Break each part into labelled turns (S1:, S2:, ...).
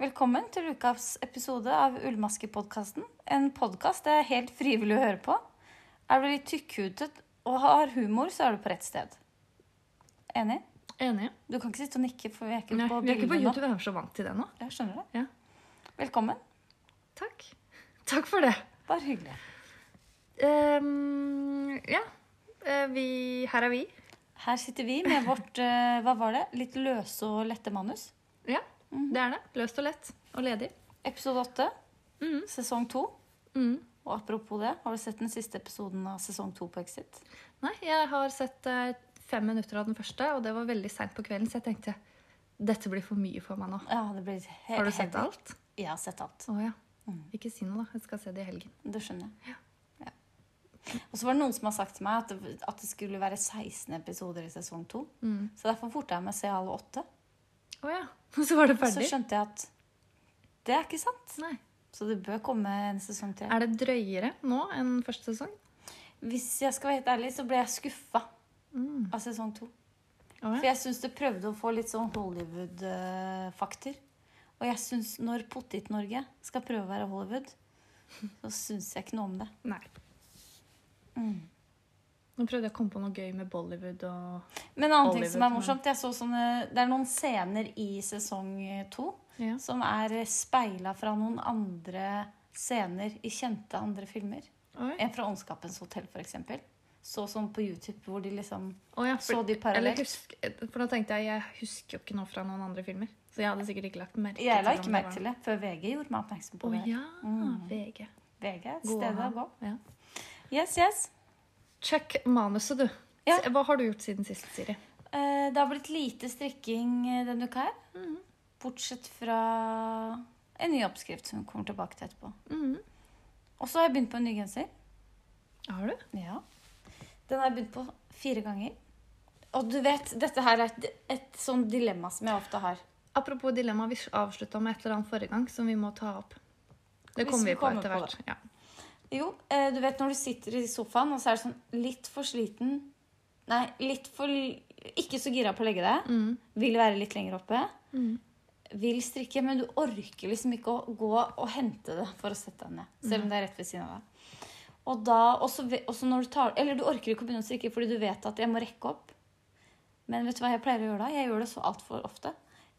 S1: velkommen til ukas episode av Ullmaskepodkasten. En podkast det er helt frivillig å høre på. Er du litt tykkhudet og har humor, så er du på rett sted. Enig?
S2: Enig.
S1: Du kan ikke sitte og nikke, for vi er ikke
S2: Nei,
S1: på
S2: vi er ikke på
S1: bildet nå.
S2: YouTube, jeg er så vant til det nå.
S1: Jeg skjønner det.
S2: Ja.
S1: Velkommen.
S2: Takk. Takk for det.
S1: Bare hyggelig.
S2: Ehm, ja. Eh, Vi, her er vi.
S1: Her sitter vi med vårt eh, hva var det? litt løse og lette manus.
S2: Ja, det er det. Løst og lett. Og ledig.
S1: Episode åtte,
S2: Mhm.
S1: sesong to.
S2: Mm.
S1: Og apropos det, har du sett den siste episoden av sesong to på Exit?
S2: Nei, jeg har sett eh, fem minutter av den første, og det var veldig seint på kvelden, så jeg tenkte dette blir for mye for meg nå.
S1: Ja, det blir he-
S2: Har du sett
S1: heavy.
S2: alt?
S1: Jeg har sett alt.
S2: Å ja. Ikke si noe, da. Jeg skal se det i helgen.
S1: Det skjønner jeg. Ja. Og så var det noen som har sagt til meg at det, at det skulle være 16 episoder i sesong 2. Så derfor forta jeg meg å se alle åtte.
S2: Mm. Å ja. Så var det
S1: Og så
S2: ferdig.
S1: skjønte jeg at det er ikke sant.
S2: Nei.
S1: Så det bør komme en sesong til.
S2: Er det drøyere nå enn første sesong?
S1: Hvis jeg skal være helt ærlig, så ble jeg skuffa
S2: Mm.
S1: av sesong 2.
S2: Å
S1: For
S2: ja.
S1: jeg syns det prøvde å få litt sånn Hollywood-fakter. Og jeg syns når Pottit-Norge skal prøve å være Hollywood, så syns jeg ikke noe om det. Mm.
S2: Nei. Nå prøvde jeg å komme på noe gøy med Bollywood og
S1: Men en annen ting som er
S2: Hollywood,
S1: morsomt, jeg så sånne, det er noen scener i sesong to
S2: ja.
S1: som er speila fra noen andre scener i kjente andre filmer.
S2: Oi.
S1: En fra Åndskapens hotell, f.eks. Så sånn på YouTube, hvor de liksom
S2: Å ja,
S1: så de
S2: Eller
S1: parallelt.
S2: husk, for da tenkte jeg jeg husker jo ikke noe fra noen andre filmer. Så jeg hadde sikkert ikke lagt merke
S1: Jeg la
S2: om
S1: ikke
S2: det
S1: merke
S2: var-
S1: til det før VG gjorde meg oppmerksom på
S2: Å
S1: det. Mm.
S2: ja, VG.
S1: VG er et
S2: Gå
S1: sted å
S2: an.
S1: gå.
S2: Ja.
S1: Yes, yes.
S2: Check manuset, du.
S1: Ja.
S2: Se, Hva har du gjort siden sist, Siri?
S1: Eh, Det har blitt lite strikking eh, denne uka her.
S2: Mm.
S1: Bortsett fra en ny oppskrift som vi kommer tilbake til etterpå.
S2: Mm.
S1: Og så har jeg begynt på en ny genser.
S2: Har du?
S1: Ja. Den har jeg begynt på fire ganger. Og du vet, dette her er et, et sånn dilemma som jeg ofte har.
S2: Apropos dilemma, vi avslutta med et eller annet forrige gang som vi må ta opp. Det
S1: Hvis
S2: kommer
S1: vi
S2: vi på
S1: kommer
S2: etter
S1: på
S2: hvert. Ja.
S1: Jo, eh, du vet når du sitter i sofaen, og så er du sånn litt for sliten Nei, litt for l- Ikke så gira på å legge deg.
S2: Mm.
S1: Vil være litt lenger oppe.
S2: Mm.
S1: Vil strikke, men du orker liksom ikke å gå og hente det for å sette deg ned.
S2: Mm.
S1: Selv om det er rett ved siden av deg. Og da, også, ve- også når du tar Eller du orker ikke å begynne å strikke fordi du vet at jeg må rekke opp. Men vet du hva jeg pleier å gjøre da? Jeg gjør det så altfor ofte.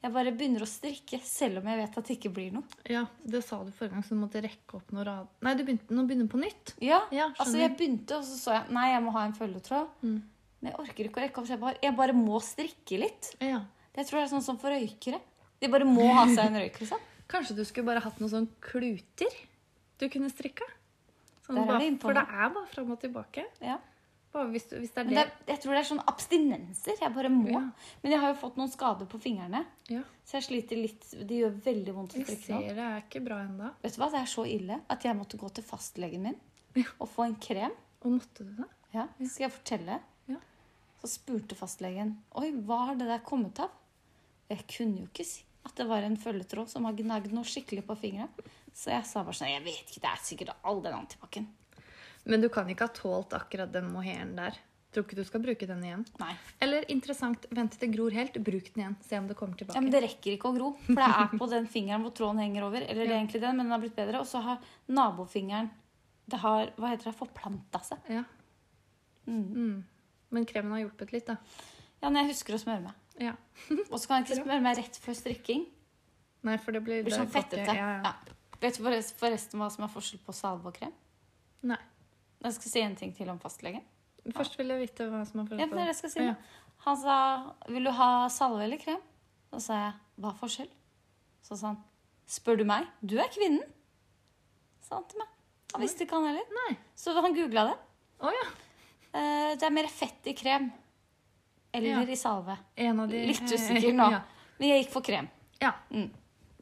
S1: Jeg bare begynner å strikke selv om jeg vet at det ikke blir noe.
S2: ja, det sa du forrige gang, så du måtte rekke opp noen rad... Nei, du begynte nå begynner på nytt.
S1: Ja,
S2: Ja,
S1: altså
S2: skjønner.
S1: jeg begynte, og så så jeg Nei, jeg må ha en følgetråd.
S2: Mm.
S1: Men jeg orker ikke å rekke opp. Så jeg bare, jeg bare må strikke litt.
S2: Ja.
S1: Jeg tror det er sånn som for røykere. De bare må ha seg en røyk, liksom.
S2: Kanskje du skulle bare hatt noen sånne kluter du kunne strikka? Sånn
S1: Der er
S2: bare-
S1: vi inne på
S2: for det
S1: noe.
S2: er bare fram og tilbake.
S1: Ja.
S2: Bare hvis, du, hvis det er
S1: Men
S2: det.
S1: det, er- jeg tror det er sånn abstinenser. Jeg bare må.
S2: Ja.
S1: Men jeg har jo fått noen skader på fingrene,
S2: Ja.
S1: så jeg sliter litt. Det gjør veldig vondt å
S2: Jeg
S1: trykke nå.
S2: ser det er ikke bra ennå.
S1: Vet du hva, det er så ille at jeg måtte gå til fastlegen min og få en krem.
S2: Og måtte du det?
S1: Ja, skal jeg fortelle?
S2: Ja.
S1: Så spurte fastlegen Oi, hva har det der kommet av? Jeg kunne jo ikke si at det var en følgetråd som har gnagd noe skikkelig på fingeren. Så jeg sa bare sånn Jeg vet ikke, det er sikkert all den antibac-en.
S2: Men du kan ikke ha tålt akkurat den mohairen der. Tror ikke du skal bruke den igjen.
S1: Nei.
S2: Eller interessant, vent til det gror helt, bruk den igjen. Se om det kommer tilbake.
S1: Ja, men Det rekker ikke å gro. For det er på den fingeren hvor tråden henger over. Eller det er egentlig den, men den har blitt bedre. Og så har nabofingeren Det har hva heter det, forplanta seg.
S2: Ja. Mm. Men kremen har hjulpet litt, da.
S1: Ja, når jeg husker å smøre meg.
S2: Ja.
S1: Og så kan jeg ikke smøre meg rett før strikking.
S2: Nei, for det blir,
S1: Det blir sånn
S2: godt,
S1: fettete.
S2: Ja, ja.
S1: Ja. Vet du forrest- forresten hva som er forskjell på salve og krem?
S2: Nei.
S1: Jeg skal si en ting til om fastlegen.
S2: Først vil jeg vite hva som har
S1: Ja,
S2: forandret
S1: for det er det jeg skal si.
S2: Ja.
S1: Han sa 'Vil du ha salve eller krem?' Så sa jeg 'Hva er forskjell?' Så sa han 'Spør du meg? Du er kvinnen', sa han til meg. Han visste ikke han heller.
S2: Nei.
S1: Så han googla det.
S2: Å ja.
S1: Eh, Det er mer fett i krem. Eller
S2: Ja.
S1: i salve.
S2: En av de eh,
S1: Litt usikker nå.
S2: Ja.
S1: Men jeg gikk for krem. Mm.
S2: ja.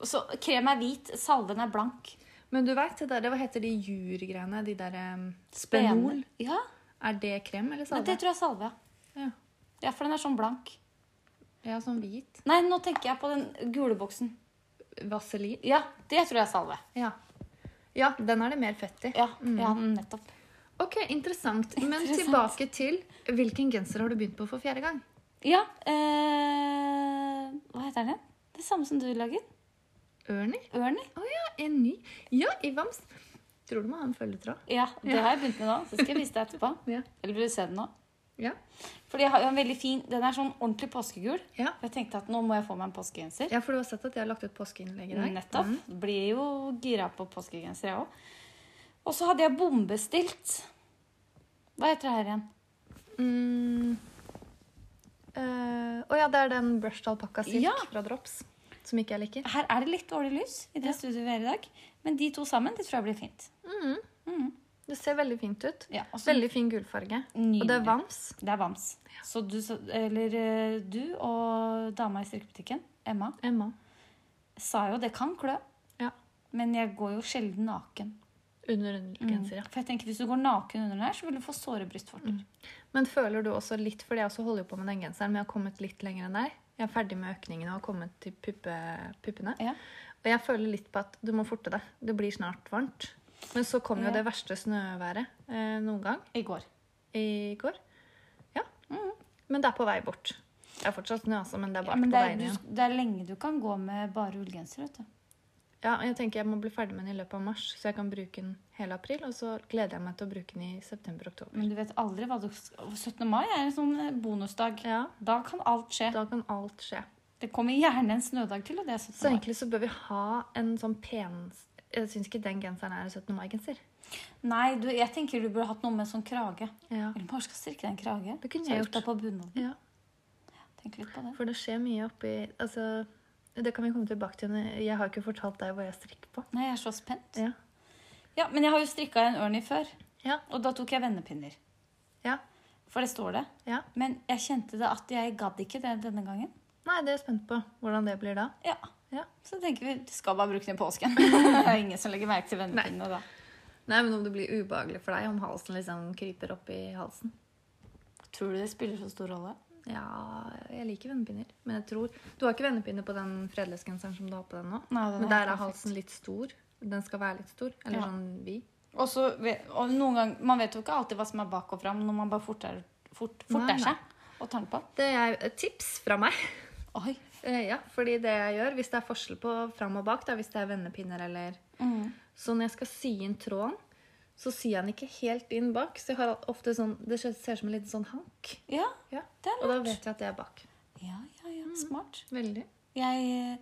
S1: Så krem er hvit, salven er blank.
S2: Men du veit det der, hva heter de jurgreiene? De der um,
S1: Spenol. Ja,
S2: Er det krem
S1: men
S2: eller
S1: det
S2: salve?
S1: tror jeg er salve.
S2: Ja.
S1: Ja, for den er sånn blank.
S2: ja, sånn hvit.
S1: Nei, nå tenker jeg på den gule boksen.
S2: Vaselin.
S1: Ja, det tror jeg er salve.
S2: Ja. ja, den er det mer fett i.
S1: Ja, ja nettopp.
S2: Ok, interessant. Men
S1: Interessant.
S2: tilbake til hvilken genser har du begynt på for fjerde gang?
S1: Ja, eh, hva heter den igjen? Det samme som du lager.
S2: Ernie?
S1: Ernie?
S2: En ny? Ja, i Vams. Tror du må ha en følgetråd?
S1: Ja, det har jeg begynt med nå. Så skal jeg vise deg etterpå.
S2: Ja.
S1: Eller vil du se den nå?
S2: Ja.
S1: Fordi jeg har jo en veldig fin Den er sånn ordentlig påskegul.
S2: Ja.
S1: Og jeg tenkte at nå må jeg få meg en påskegenser.
S2: ja, for du har sett at jeg har lagt ut påskeinnlegg i dag?
S1: Nettopp.
S2: Mm.
S1: Blir jo gira på påskegenser, jeg òg. Og så hadde jeg bombestilt Hva heter det her igjen?
S2: Mm. Eh, å ja, det er den brushed alpakka silk
S1: Ja.
S2: fra Drops. Som ikke jeg liker.
S1: Her er det litt dårlig lys i det studioet vi er i dag, men de to sammen det tror jeg blir fint. Mhm.
S2: Det ser veldig fint ut.
S1: Ja, og så-
S2: Veldig fin gulfarge.
S1: Nydelig.
S2: Og det er vams.
S1: Det er Vams. Så du, så- eller, eh, du og dama i strikkebutikken, Emma,
S2: Emma.
S1: sa jo det kan klø,
S2: Ja.
S1: men jeg går jo sjelden naken.
S2: Under undergenser,
S1: For jeg tenker Hvis du går naken under den her, så vil du få såre brystvorter.
S2: ja. Men føler du også litt, fordi jeg også holder jo på med den genseren, men jeg har kommet litt lenger enn deg. Jeg er ferdig med økningen og har kommet til puppe, puppene.
S1: Ja.
S2: Og jeg føler litt på at du må forte deg. Det blir snart varmt. Men så kom jo
S1: Ja.
S2: det verste snøværet eh, noen gang
S1: I går.
S2: i går. Ja. Men det er på vei bort. Det er fortsatt snø, altså, men det
S1: Mm.
S2: er
S1: Ja,
S2: bare
S1: men det
S2: på vei
S1: er,
S2: ned igjen.
S1: du, det er lenge du kan gå med bare ullgenser. vet du.
S2: Ja, jeg tenker jeg må bli ferdig med den i løpet av mars, så jeg kan bruke den hele april. Og så gleder jeg meg til å bruke den i september-oktober.
S1: Men du vet aldri hva du 17. mai er en sånn eh, bonusdag.
S2: Ja,
S1: Da kan alt skje.
S2: da kan alt skje.
S1: Det kommer gjerne en snødag til, og det er 17.
S2: Så
S1: mai.
S2: egentlig så bør vi ha en sånn pen Jeg syns ikke den genseren er en 17. mai-genser.
S1: Nei, du, jeg tenker du burde hatt noe med en sånn krage.
S2: Ja.
S1: Eller bare skal strikke deg en krage.
S2: Det kunne
S1: Så
S2: jeg
S1: ut da
S2: gjort.
S1: på bunaden.
S2: ja.
S1: Tenk litt på det.
S2: For det skjer mye oppi Altså, det kan vi komme tilbake til. Jeg har ikke fortalt deg hva jeg strikker på.
S1: Nei, jeg er så spent.
S2: Ja.
S1: Ja, Men jeg har jo strikka en Ernie før.
S2: Ja.
S1: Og da tok jeg vennepinner.
S2: Ja.
S1: For det står det.
S2: ja.
S1: Men jeg kjente det at jeg gadd ikke det denne gangen.
S2: Nei, det er jeg spent på hvordan det blir da.
S1: Ja.
S2: Ja.
S1: Så tenker vi du skal bare bruke den i påsken. det er ingen som legger merke til vennepinnene da.
S2: Nei, men om det blir ubehagelig for deg, om halsen liksom kryper opp i halsen.
S1: Tror du det spiller så stor rolle?
S2: Ja, jeg liker vennepinner. Men jeg tror Du har ikke vennepinner på den fredelesgenseren som du har på den nå?
S1: Nei, den
S2: men
S1: er
S2: der er
S1: perfekt.
S2: halsen litt stor. Den skal være litt stor. Eller
S1: Ja.
S2: sånn vid.
S1: Og så vet- og noen gang, Man vet jo ikke alltid hva som er bak og fram når man bare forter, fort,
S2: Nei,
S1: forter
S2: nei.
S1: seg og tar den på.
S2: Det er et tips fra meg.
S1: Oi.
S2: Eh, Ja, fordi det jeg gjør, hvis det er forskjell på fram og bak, da, hvis det er vennepinner eller
S1: Mm.
S2: Så når jeg skal sy inn tråden, så syr jeg den ikke helt inn bak. Så jeg har ofte sånn Det ser ser ut som en liten sånn hank.
S1: Ja, Mm.
S2: Ja.
S1: det er
S2: Og da
S1: lurt.
S2: vet jeg at det er bak.
S1: Ja, ja, ja. Smart.
S2: Veldig.
S1: Jeg,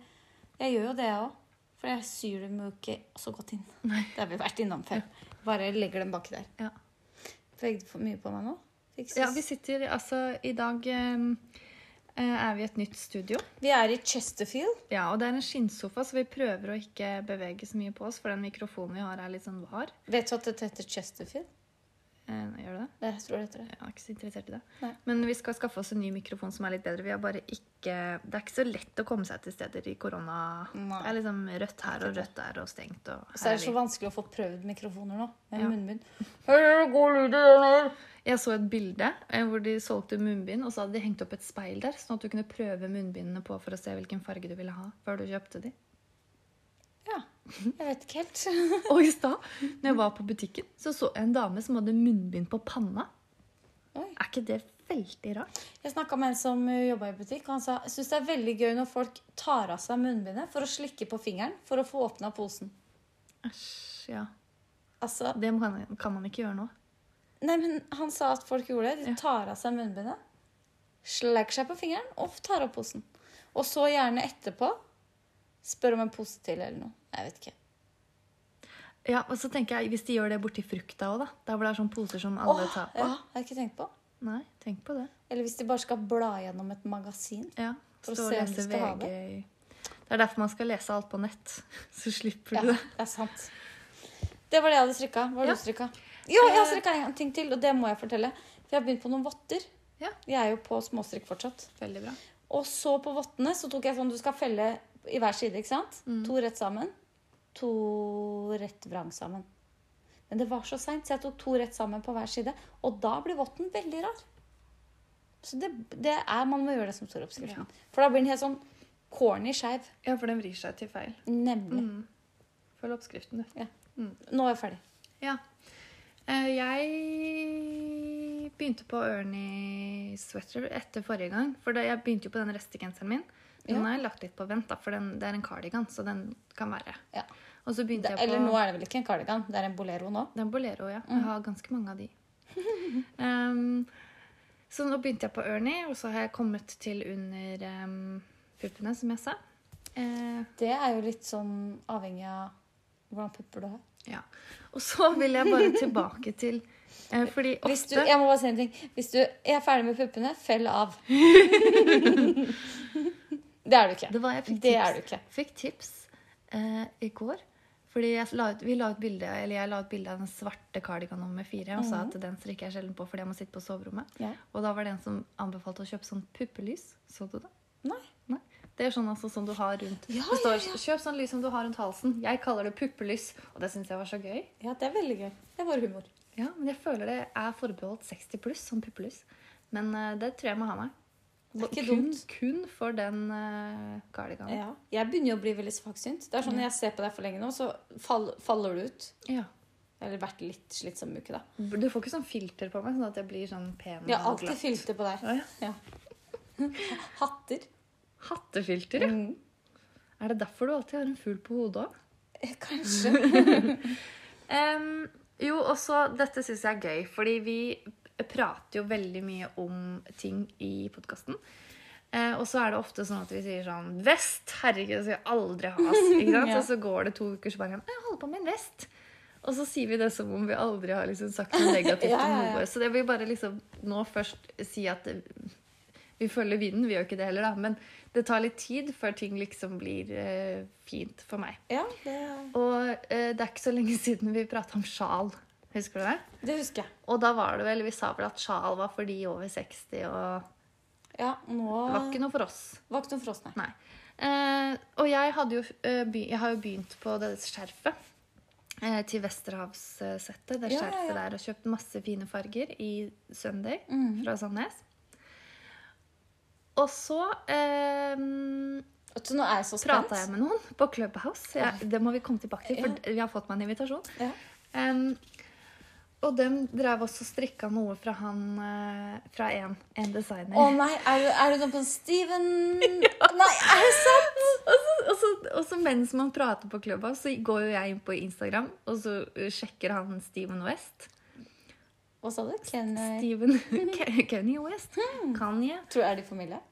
S1: jeg gjør jo det, jeg òg. For jeg syr dem jo ikke så godt inn. Det har vi vært innom før. Bare legger dem baki der.
S2: Ja.
S1: Vegde for mye på meg nå? Fikses.
S2: Ja, vi sitter altså I dag eh, eh, er vi i et nytt studio.
S1: Vi er i Chesterfield.
S2: Ja, og det er en skinnsofa, så vi prøver å ikke bevege så mye på oss, for den mikrofonen vi har, er litt sånn var.
S1: Vet du at dette heter Chesterfield?
S2: Eh, gjør det det?
S1: Det jeg tror det heter det.
S2: Jeg er ikke så interessert i det.
S1: Nei.
S2: Men vi skal skaffe oss en ny mikrofon som er litt bedre. Vi har bare ikke Det er ikke så lett å komme seg til steder i korona.
S1: Nei.
S2: Det er liksom rødt her og rødt der og stengt og
S1: Så er
S2: her
S1: det så
S2: er vi.
S1: vanskelig å få prøvd mikrofoner nå. Med
S2: Ja.
S1: munnbind. Hører du god lyd i den her?
S2: Jeg så et bilde eh, hvor de solgte munnbind, og så hadde de hengt opp et speil der, sånn at du kunne prøve munnbindene på for å se hvilken farge du ville ha før du kjøpte de.
S1: Ja. Jeg vet ikke helt.
S2: Og i stad, når jeg var på butikken, så så jeg en dame som hadde munnbind på panna.
S1: Oi.
S2: Er ikke det veldig rart?
S1: Jeg snakka med en som jobba i butikk, og han sa jeg syns det er veldig gøy når folk tar av seg munnbindet for å slikke på fingeren for å få åpna posen.
S2: Æsj, ja.
S1: Altså,
S2: Det kan, kan man ikke gjøre nå.
S1: Nei, men Han sa at folk gjorde det. De tar av seg munnbindet, slekker seg på fingeren og tar opp posen. Og så gjerne etterpå spør om en pose til eller noe. Jeg vet ikke.
S2: Ja, og så tenker jeg, Hvis de gjør det borti frukta òg, da. Der hvor det er sånne poser som alle
S1: Åh,
S2: tar på.
S1: ja, jeg har ikke tenkt på.
S2: Nei, tenk på det.
S1: Eller hvis de bare skal bla gjennom et magasin.
S2: Ja,
S1: For å
S2: Stå
S1: se
S2: og
S1: om de
S2: lese
S1: skal ha
S2: VG. Det er derfor man skal lese alt på nett. Så slipper
S1: Ja,
S2: du det.
S1: det er sant. Det var det jeg hadde strikka. Hva har
S2: Ja.
S1: du strikka? Jo, jeg har
S2: Eh.
S1: strikka en ting til, og det må jeg fortelle. For jeg har begynt på noen votter.
S2: Ja.
S1: Jeg er jo på småstrikk fortsatt.
S2: Veldig bra.
S1: Og så på vottene så tok jeg sånn du skal felle i hver side, ikke sant? To rett sammen. To rett vrang sammen. Men det var så seint, så jeg tok to rett sammen på hver side. Og da blir votten veldig rar. Så det, det er, man må gjøre det som står i oppskriften.
S2: Ja.
S1: For da blir den helt sånn corny skeiv.
S2: Ja, for den vrir seg til feil.
S1: Nemlig.
S2: Følg oppskriften, du.
S1: Nå er jeg ferdig.
S2: Ja. Eh, Jeg begynte på Ernie sweater etter forrige gang. For det, jeg begynte jo på den restegenseren min. Den
S1: Ja.
S2: har jeg lagt litt på vent, da, for den, det er en cardigan, så den kan være.
S1: Ja.
S2: Og så begynte
S1: Det,
S2: jeg på
S1: eller nå er det vel ikke en cardigan, det er en bolero nå.
S2: Den bolero, ja.
S1: Mhm.
S2: Jeg har ganske mange av de. Ehm, så nå begynte jeg på Ernie, og så har jeg kommet til under ehm, puppene, som jeg sa. Eh,
S1: Det er jo litt sånn avhengig av hvordan pupper du har.
S2: ja. Og så vil jeg bare tilbake til eh, Fordi
S1: Hvis du,
S2: ofte
S1: jeg må bare si en ting. Hvis du er ferdig med puppene, fell av. det er du ikke.
S2: Det var jeg fikk
S1: Det
S2: tips.
S1: er du ikke.
S2: Fikk tips eh, i går. Fordi jeg la ut, vi la ut bilde, eller jeg la ut bilde av den svarte kardigan nummer fire og
S1: Mhm.
S2: sa at den strikker jeg sjelden på fordi jeg må sitte på soverommet.
S1: Ja.
S2: Og da var det en som anbefalte å kjøpe sånn puppelys. Så du det?
S1: Nei.
S2: Nei. Det er sånn altså som du har rundt
S1: Ja,
S2: Det står 'kjøp sånn lys som du har rundt halsen'. Jeg kaller det puppelys, og det syns jeg var så gøy.
S1: Ja, det er veldig gøy. Det er vår humor.
S2: Ja, men jeg føler det er forbeholdt 60 pluss som puppelys. Men eh, det tror jeg må ha meg.
S1: Det er ikke
S2: kun,
S1: dumt.
S2: kun for den uh, cardiganen.
S1: Ja. Jeg begynner jo å bli veldig svaksynt. Det er sånn Når jeg ser på deg for lenge nå, så fall, faller du ut.
S2: Ja.
S1: Eller vært litt slitsom uke, da.
S2: Du får ikke sånn filter på meg, sånn at jeg blir sånn pen
S1: Jeg har
S2: og
S1: alltid
S2: glatt.
S1: filter på deg.
S2: Å, ja.
S1: Ja. Hatter.
S2: Hattefilter, ja.
S1: Mm.
S2: Er det derfor du alltid har en fugl på hodet òg?
S1: Eh, Kanskje.
S2: jo, også dette syns jeg er gøy, fordi vi prater jo veldig mye om ting i podkasten. Eh, og så er det ofte sånn at vi sier sånn Vest! Herregud, det skal jeg aldri ha! ass», Ikke sant?
S1: Ja.
S2: Og så går det to uker, så bare Jeg holder på med en vest! Og så sier vi det som om vi aldri har liksom sagt noe negativt
S1: Ja, ja,
S2: om
S1: ja.
S2: noe. Så det vil bare liksom nå først si at det- vi følger vinden. Vi gjør ikke det heller, da. Men det tar litt tid før ting liksom blir eh, fint for meg.
S1: Ja, det,
S2: Og eh, det er ikke så lenge siden vi prata om sjal. Husker du det?
S1: det husker jeg.
S2: Og da var det vel, vi sa vel at sjal var for de over 60, og
S1: Ja, nå
S2: det var ikke noe for oss.
S1: Var ikke noe frost, nei.
S2: Nei. Eh, og jeg, hadde jo, eh, be, jeg har jo begynt på det skjerfet eh, til Vesterhavssettet. Det
S1: Ja, ja,
S2: skjerfet
S1: ja.
S2: der. Og kjøpt masse fine farger i Sunday
S1: Mhm.
S2: fra Sandnes. Og så eh,
S1: Vet du, nå er jeg så spent.
S2: prata jeg med noen på Clubhouse. Jeg, det må vi komme tilbake til, for vi har fått meg en invitasjon.
S1: Ja.
S2: Em, og dem drev også strikka noe fra han eh, Fra en, en designer.
S1: Å nei, er du, er du noe på Steven Nei, er det sant?
S2: Og, så, og, så, og så mens man prater på klubba, så går jo jeg inn på Instagram, og så eh, sjekker han Steven West.
S1: Hva sa du? Ken eh,
S2: Steven Ke- Kanye West. Kanye.
S1: Tror du er de familie?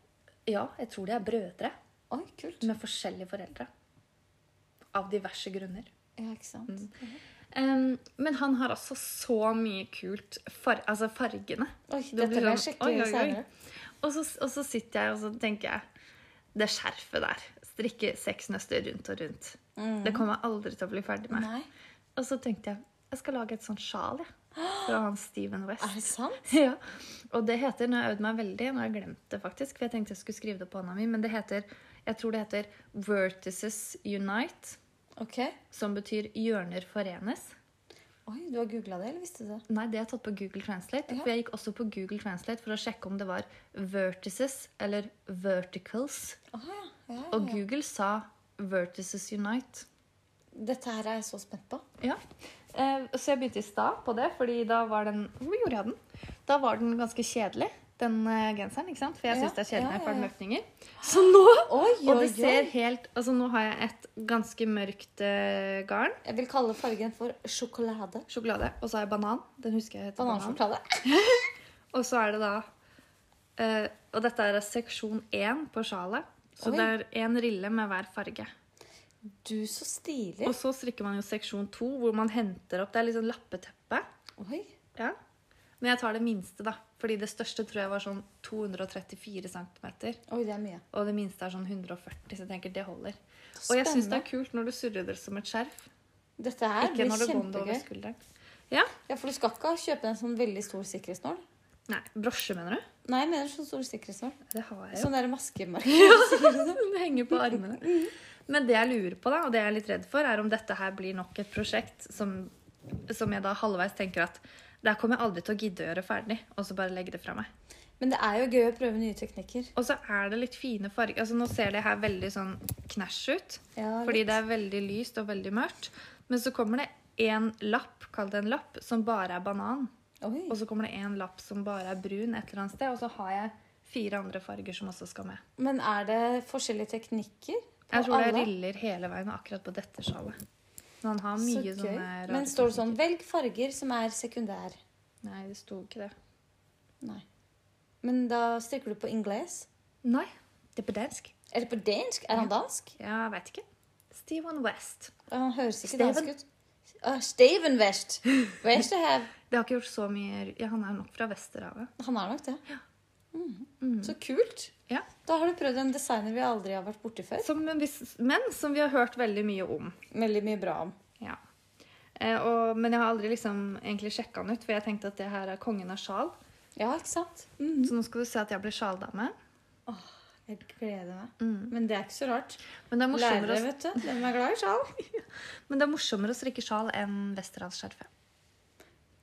S2: Ja, jeg tror de er brødre
S1: Oi, kult.
S2: med forskjellige foreldre. Av diverse grunner.
S1: Ja, ikke sant?
S2: Mm. Em, men han har altså så mye kult. Far, altså fargene.
S1: Oi,
S2: Det
S1: dette
S2: blir
S1: vil jeg
S2: sånn,
S1: sjekke
S2: oi, oi, oi.
S1: senere.
S2: Og så, og så sitter jeg og så tenker jeg Det skjerfet der. Strikke seks nøster rundt og rundt. Det kommer jeg aldri til å bli ferdig med.
S1: Mm. Nei.
S2: Og så tenkte jeg jeg skal lage et sånt sjal jeg, fra han Steven
S1: Ah! Er
S2: West.
S1: det sant?
S2: Ja. Og det heter Nå har jeg øvd meg veldig, nå har jeg glemt det faktisk, for jeg tenkte jeg skulle skrive det på hånda mi, men det heter Jeg tror det heter Vertices Unite,
S1: Ok.
S2: som betyr hjørner forenes.
S1: Oi, du har googla det, eller visste du det?
S2: Nei, det har jeg tatt på Google Translate.
S1: Ja.
S2: For jeg gikk også på Google Translate for å sjekke om det var vertices eller verticals.
S1: Å ja. ja, ja,
S2: Og
S1: ja.
S2: Google sa vertices unite.
S1: Dette her er jeg så spent på.
S2: Ja. Eh, så jeg begynte i stad på det, fordi da var den Hvor gjorde jeg den? Da var den ganske kjedelig, den eh, genseren. ikke sant? For jeg
S1: Ja,
S2: syns det er
S1: ja,
S2: kjedelig når jeg
S1: ja,
S2: får
S1: ja.
S2: den økninger. Så nå
S1: Oi, oi,
S2: Og det ser
S1: oi.
S2: helt Altså nå har jeg et ganske mørkt eh, garn.
S1: Jeg vil kalle fargen for sjokolade.
S2: Sjokolade. Og så har jeg banan. Den husker jeg heter banan.
S1: Banansjokolade.
S2: Og så er det da eh, Og dette er seksjon én på sjalet. Så
S1: Oi.
S2: det er én rille med hver farge.
S1: Du, så stilig.
S2: Og så strikker man jo seksjon to, hvor man henter opp Det er litt sånn lappeteppe.
S1: Oi.
S2: Ja. Men jeg tar det minste, da. Fordi det største tror jeg var sånn 234 cm.
S1: Oi, det er mye.
S2: Og det minste er sånn 140, så jeg tenker det holder. Og jeg syns det er
S1: Spennende.
S2: kult når du surrer det som et skjerf.
S1: Dette her
S2: Ikke
S1: blir
S2: når du går det over
S1: kjempegøy.
S2: skulderen. Ja.
S1: Ja, For du skal ikke kjøpe en sånn veldig stor sikkerhetsnål?
S2: Nei, brosje, mener du?
S1: Nei, jeg mener sånn stor sikkerhetsnål.
S2: Det har jeg jo.
S1: Sånn der maskemarked.
S2: Sånn, Det henger på armene. Men det jeg lurer på, da, og det jeg er litt redd for, er om dette her blir nok et prosjekt som, som jeg da halvveis tenker at det her kommer jeg aldri til å gidde å gjøre ferdig, og så bare legge det fra meg.
S1: Men det er jo gøy å prøve nye teknikker.
S2: Og så er det litt fine farger. Altså, nå ser det her veldig sånn knæsj ut,
S1: Ja,
S2: fordi
S1: litt.
S2: det er veldig lyst og veldig mørkt. Men så kommer det en lapp, kall det en lapp, som bare er banan.
S1: Oi.
S2: Og så kommer det en lapp som bare er brun et eller annet sted, og så har jeg fire andre farger som også skal med.
S1: Men er det forskjellige teknikker? på
S2: Jeg tror det
S1: alle?
S2: er riller hele veien akkurat på dette sjalet. Men han har
S1: Så
S2: mye
S1: gøy.
S2: sånne rare
S1: Men står det sånn
S2: teknikker.
S1: 'velg farger som er sekundær'?
S2: Nei, det sto ikke det.
S1: Nei. Men da strikker du på ingles?
S2: Nei, det er på dansk.
S1: Eller på dansk? Er han dansk?
S2: Ja, jeg vet ikke. Steven West.
S1: Ja, Han høres ikke
S2: Steven.
S1: dansk ut. Uh, Steven West. West I have.
S2: Det har ikke gjort så mye ru- Ja, han er nok fra Vesterhavet.
S1: Han er nok det.
S2: Mm.
S1: Så kult.
S2: Ja.
S1: Da har du prøvd en designer vi aldri har vært borti før.
S2: Som, hvis- men som vi har hørt veldig mye om.
S1: Veldig mye bra om.
S2: Ja. Eh, og, men jeg har aldri liksom egentlig sjekka han ut, for jeg tenkte at det her er kongen av sjal.
S1: Ja, ikke sant?
S2: Så nå skal du se at jeg ble sjaldame.
S1: Jeg gleder meg.
S2: Mm.
S1: Men det er ikke så rart.
S2: Men det er morsommere,
S1: Lærere,
S2: å,
S1: vet du. De er glad i sjal.
S2: men det er morsommere å strikke sjal enn Westerdalsskjerfet.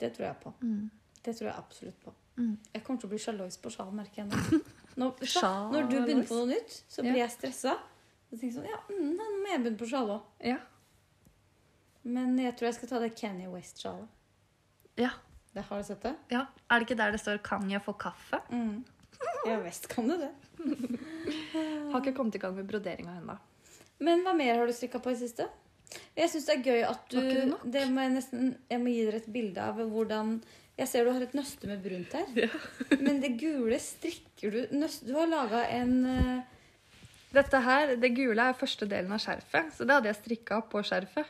S1: Det tror jeg på.
S2: Mm.
S1: Det tror jeg absolutt på.
S2: Mm.
S1: Jeg kommer til å bli sjalos på sjal, merker jeg nå. Nå- vet du hva?
S2: Sjalois.
S1: Når du begynner på noe nytt, så blir
S2: Ja.
S1: jeg stressa. Jeg tenker sånn, ja, mm, nei, nå må jeg begynne på sjal òg.
S2: Ja.
S1: Men jeg tror jeg skal ta det Kanye West-sjalet.
S2: ja.
S1: Det Har du sett det?
S2: Ja. Er det ikke der det står 'Kan jeg få kaffe'?
S1: Mm. Ja visst kan du det.
S2: Har ikke kommet i gang med broderinga ennå.
S1: Men hva mer har du strikka på i siste? Jeg syns det er gøy at du
S2: Var ikke det nok?
S1: det må jeg, nesten, jeg må gi dere et bilde av hvordan Jeg ser du har et nøste med brunt her. men det gule strikker du nøst, Du har laga en eh,
S2: Dette her, Det gule er første delen av skjerfet, så det hadde jeg strikka på skjerfet.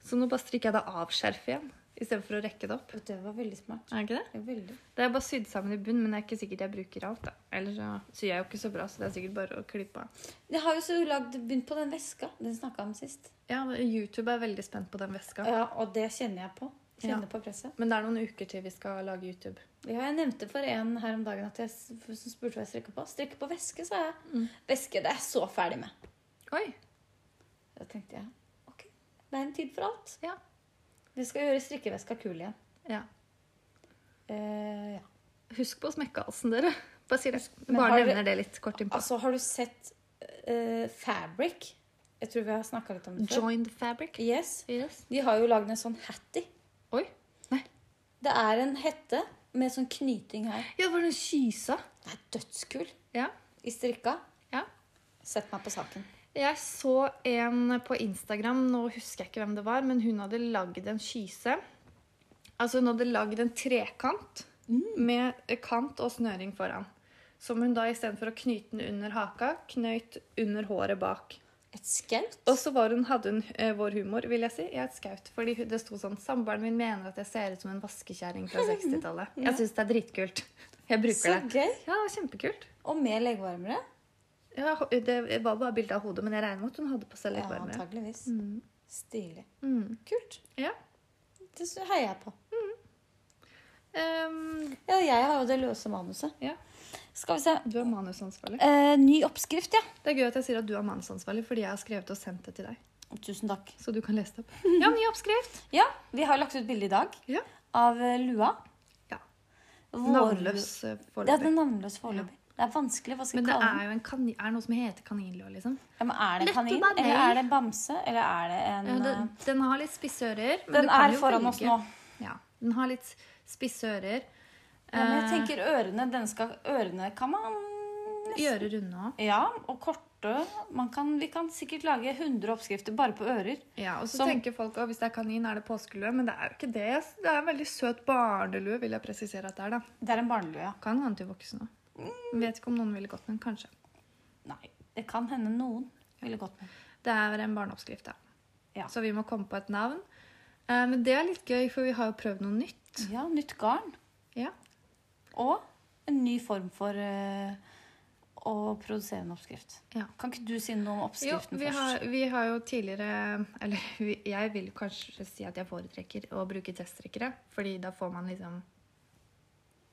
S2: Så nå bare strikker jeg det av skjerfet igjen, istedenfor å rekke det opp.
S1: Å, Det var veldig smart.
S2: Er det ikke det?
S1: Det er veldig.
S2: Det er bare sydd sammen i bunn, men det er ikke sikkert jeg bruker alt. da. Eller så syr jeg jo ikke så bra, så det er sikkert bare å klippe av.
S1: Jeg har jo så lagd, begynt på den veska. Den snakka jeg om sist.
S2: Ja, men YouTube er veldig spent på den veska.
S1: Ja, Og det kjenner jeg på. Kjenner på presset.
S2: Men det er noen uker til vi skal lage YouTube.
S1: Ja, jeg nevnte for en her om dagen at jeg s- som spurte hva jeg strikka på. Strikke på veske, sa jeg.
S2: Mm.
S1: Veske, det er jeg så ferdig med.
S2: Oi!
S1: Da tenkte jeg ok, det er en tid for alt.
S2: Ja.
S1: Vi skal gjøre strikkeveska kul igjen.
S2: Ja.
S1: Eh, ja.
S2: Husk på smekkehalsen, dere. Bare sier det.
S1: Men
S2: Bare
S1: har dere-
S2: nevner det litt kort innpå.
S1: Altså, har du sett eh, Fabric? Jeg tror vi har snakka litt om det før.
S2: Altså, Joined fabric.
S1: Yes.
S2: Yes.
S1: De har jo lagd en sånn hattie.
S2: Oi. Nei.
S1: Det er en hette med sånn knyting her.
S2: Ja, det var den kysa.
S1: Det er dødskul
S2: Ja.
S1: i strikka.
S2: Ja.
S1: Sett meg på saken.
S2: Jeg så en på Instagram, nå husker jeg ikke hvem det var, men hun hadde lagd en kyse. Altså hun hadde lagd en trekant med kant og snøring foran. Som hun da istedenfor å knyte den under haka, knøyt under håret bak.
S1: Et skaut?
S2: Og så var hun, hadde hun eh, vår humor, vil jeg si, i et skaut. Fordi hun- det sto sånn Samboeren min mener at jeg ser ut som en vaskekjerring fra 60-tallet. Jeg syns det er dritkult. Jeg
S1: Så
S2: bruker det.
S1: gøy.
S2: Ja, det var kjempekult.
S1: Og med leggvarmere.
S2: Ja, ho- det var bare bilde av hodet, men jeg regner med at hun hadde på
S1: Ja,
S2: seg litt varmere.
S1: antageligvis.
S2: Mm.
S1: Stilig.
S2: Mm.
S1: Kult.
S2: Ja.
S1: Det s- heier jeg på.
S2: Ehm,
S1: Ja, jeg har jo det løse manuset.
S2: ja.
S1: Skal vi se.
S2: Du er manusansvarlig.
S1: Eh, ny oppskrift, ja.
S2: Det er gøy at jeg sier at du er manusansvarlig, fordi jeg har skrevet og sendt det til deg.
S1: Tusen takk.
S2: Så du kan lese det opp. Ja, ny oppskrift!
S1: Ja, vi har lagt ut bilde i dag
S2: Ja.
S1: av eh, lua.
S2: Ja.
S1: Vår-
S2: Navnløs eh,
S1: Ja, den
S2: foreløpig.
S1: er navnløs foreløpig. Det er vanskelig. Hva skal
S2: Men
S1: vi
S2: det
S1: kalle
S2: er
S1: den?
S2: jo en kanin, er det noe som heter kaninlua, liksom?
S1: Ja, men er det en
S2: Lett å
S1: kanin?
S2: bare
S1: Eller
S2: nei.
S1: er det bamse? Eller er det en
S2: Ja,
S1: eh,
S2: den, den har litt spisse ører. men
S1: Den
S2: du kan
S1: er
S2: jo
S1: foran oss
S2: velge.
S1: nå.
S2: Ja, den har litt spisse ører.
S1: Ja, men jeg
S2: Eh,
S1: tenker ørene den skal, Ørene kan man
S2: Gjøre runde òg.
S1: Ja, og korte. Man kan, vi kan sikkert lage 100 oppskrifter bare på ører.
S2: Ja, og så
S1: Som-
S2: tenker folk at hvis det er kanin, er det påskelue. Men det er jo ikke det. Det er en veldig søt barnelue, vil jeg presisere at det er. da.
S1: Det er en barnelue, ja.
S2: Kan hende til voksne.
S1: Mm.
S2: Vet ikke om noen ville gått med den, kanskje.
S1: Nei, det kan hende noen ville gått med.
S2: Det er en barneoppskrift, da.
S1: Ja.
S2: Så vi må komme på et navn. Eh, Men det er litt gøy, for vi har jo prøvd noe nytt.
S1: Ja, nytt garn.
S2: Ja.
S1: Og en ny form for eh, å produsere en oppskrift.
S2: Ja.
S1: Kan ikke du si noe om
S2: Jo,
S1: oppskriften
S2: vi
S1: først?
S2: har, vi har jo tidligere Eller vi- jeg vil kanskje si at jeg foretrekker å bruke teststrikkere, fordi da får man liksom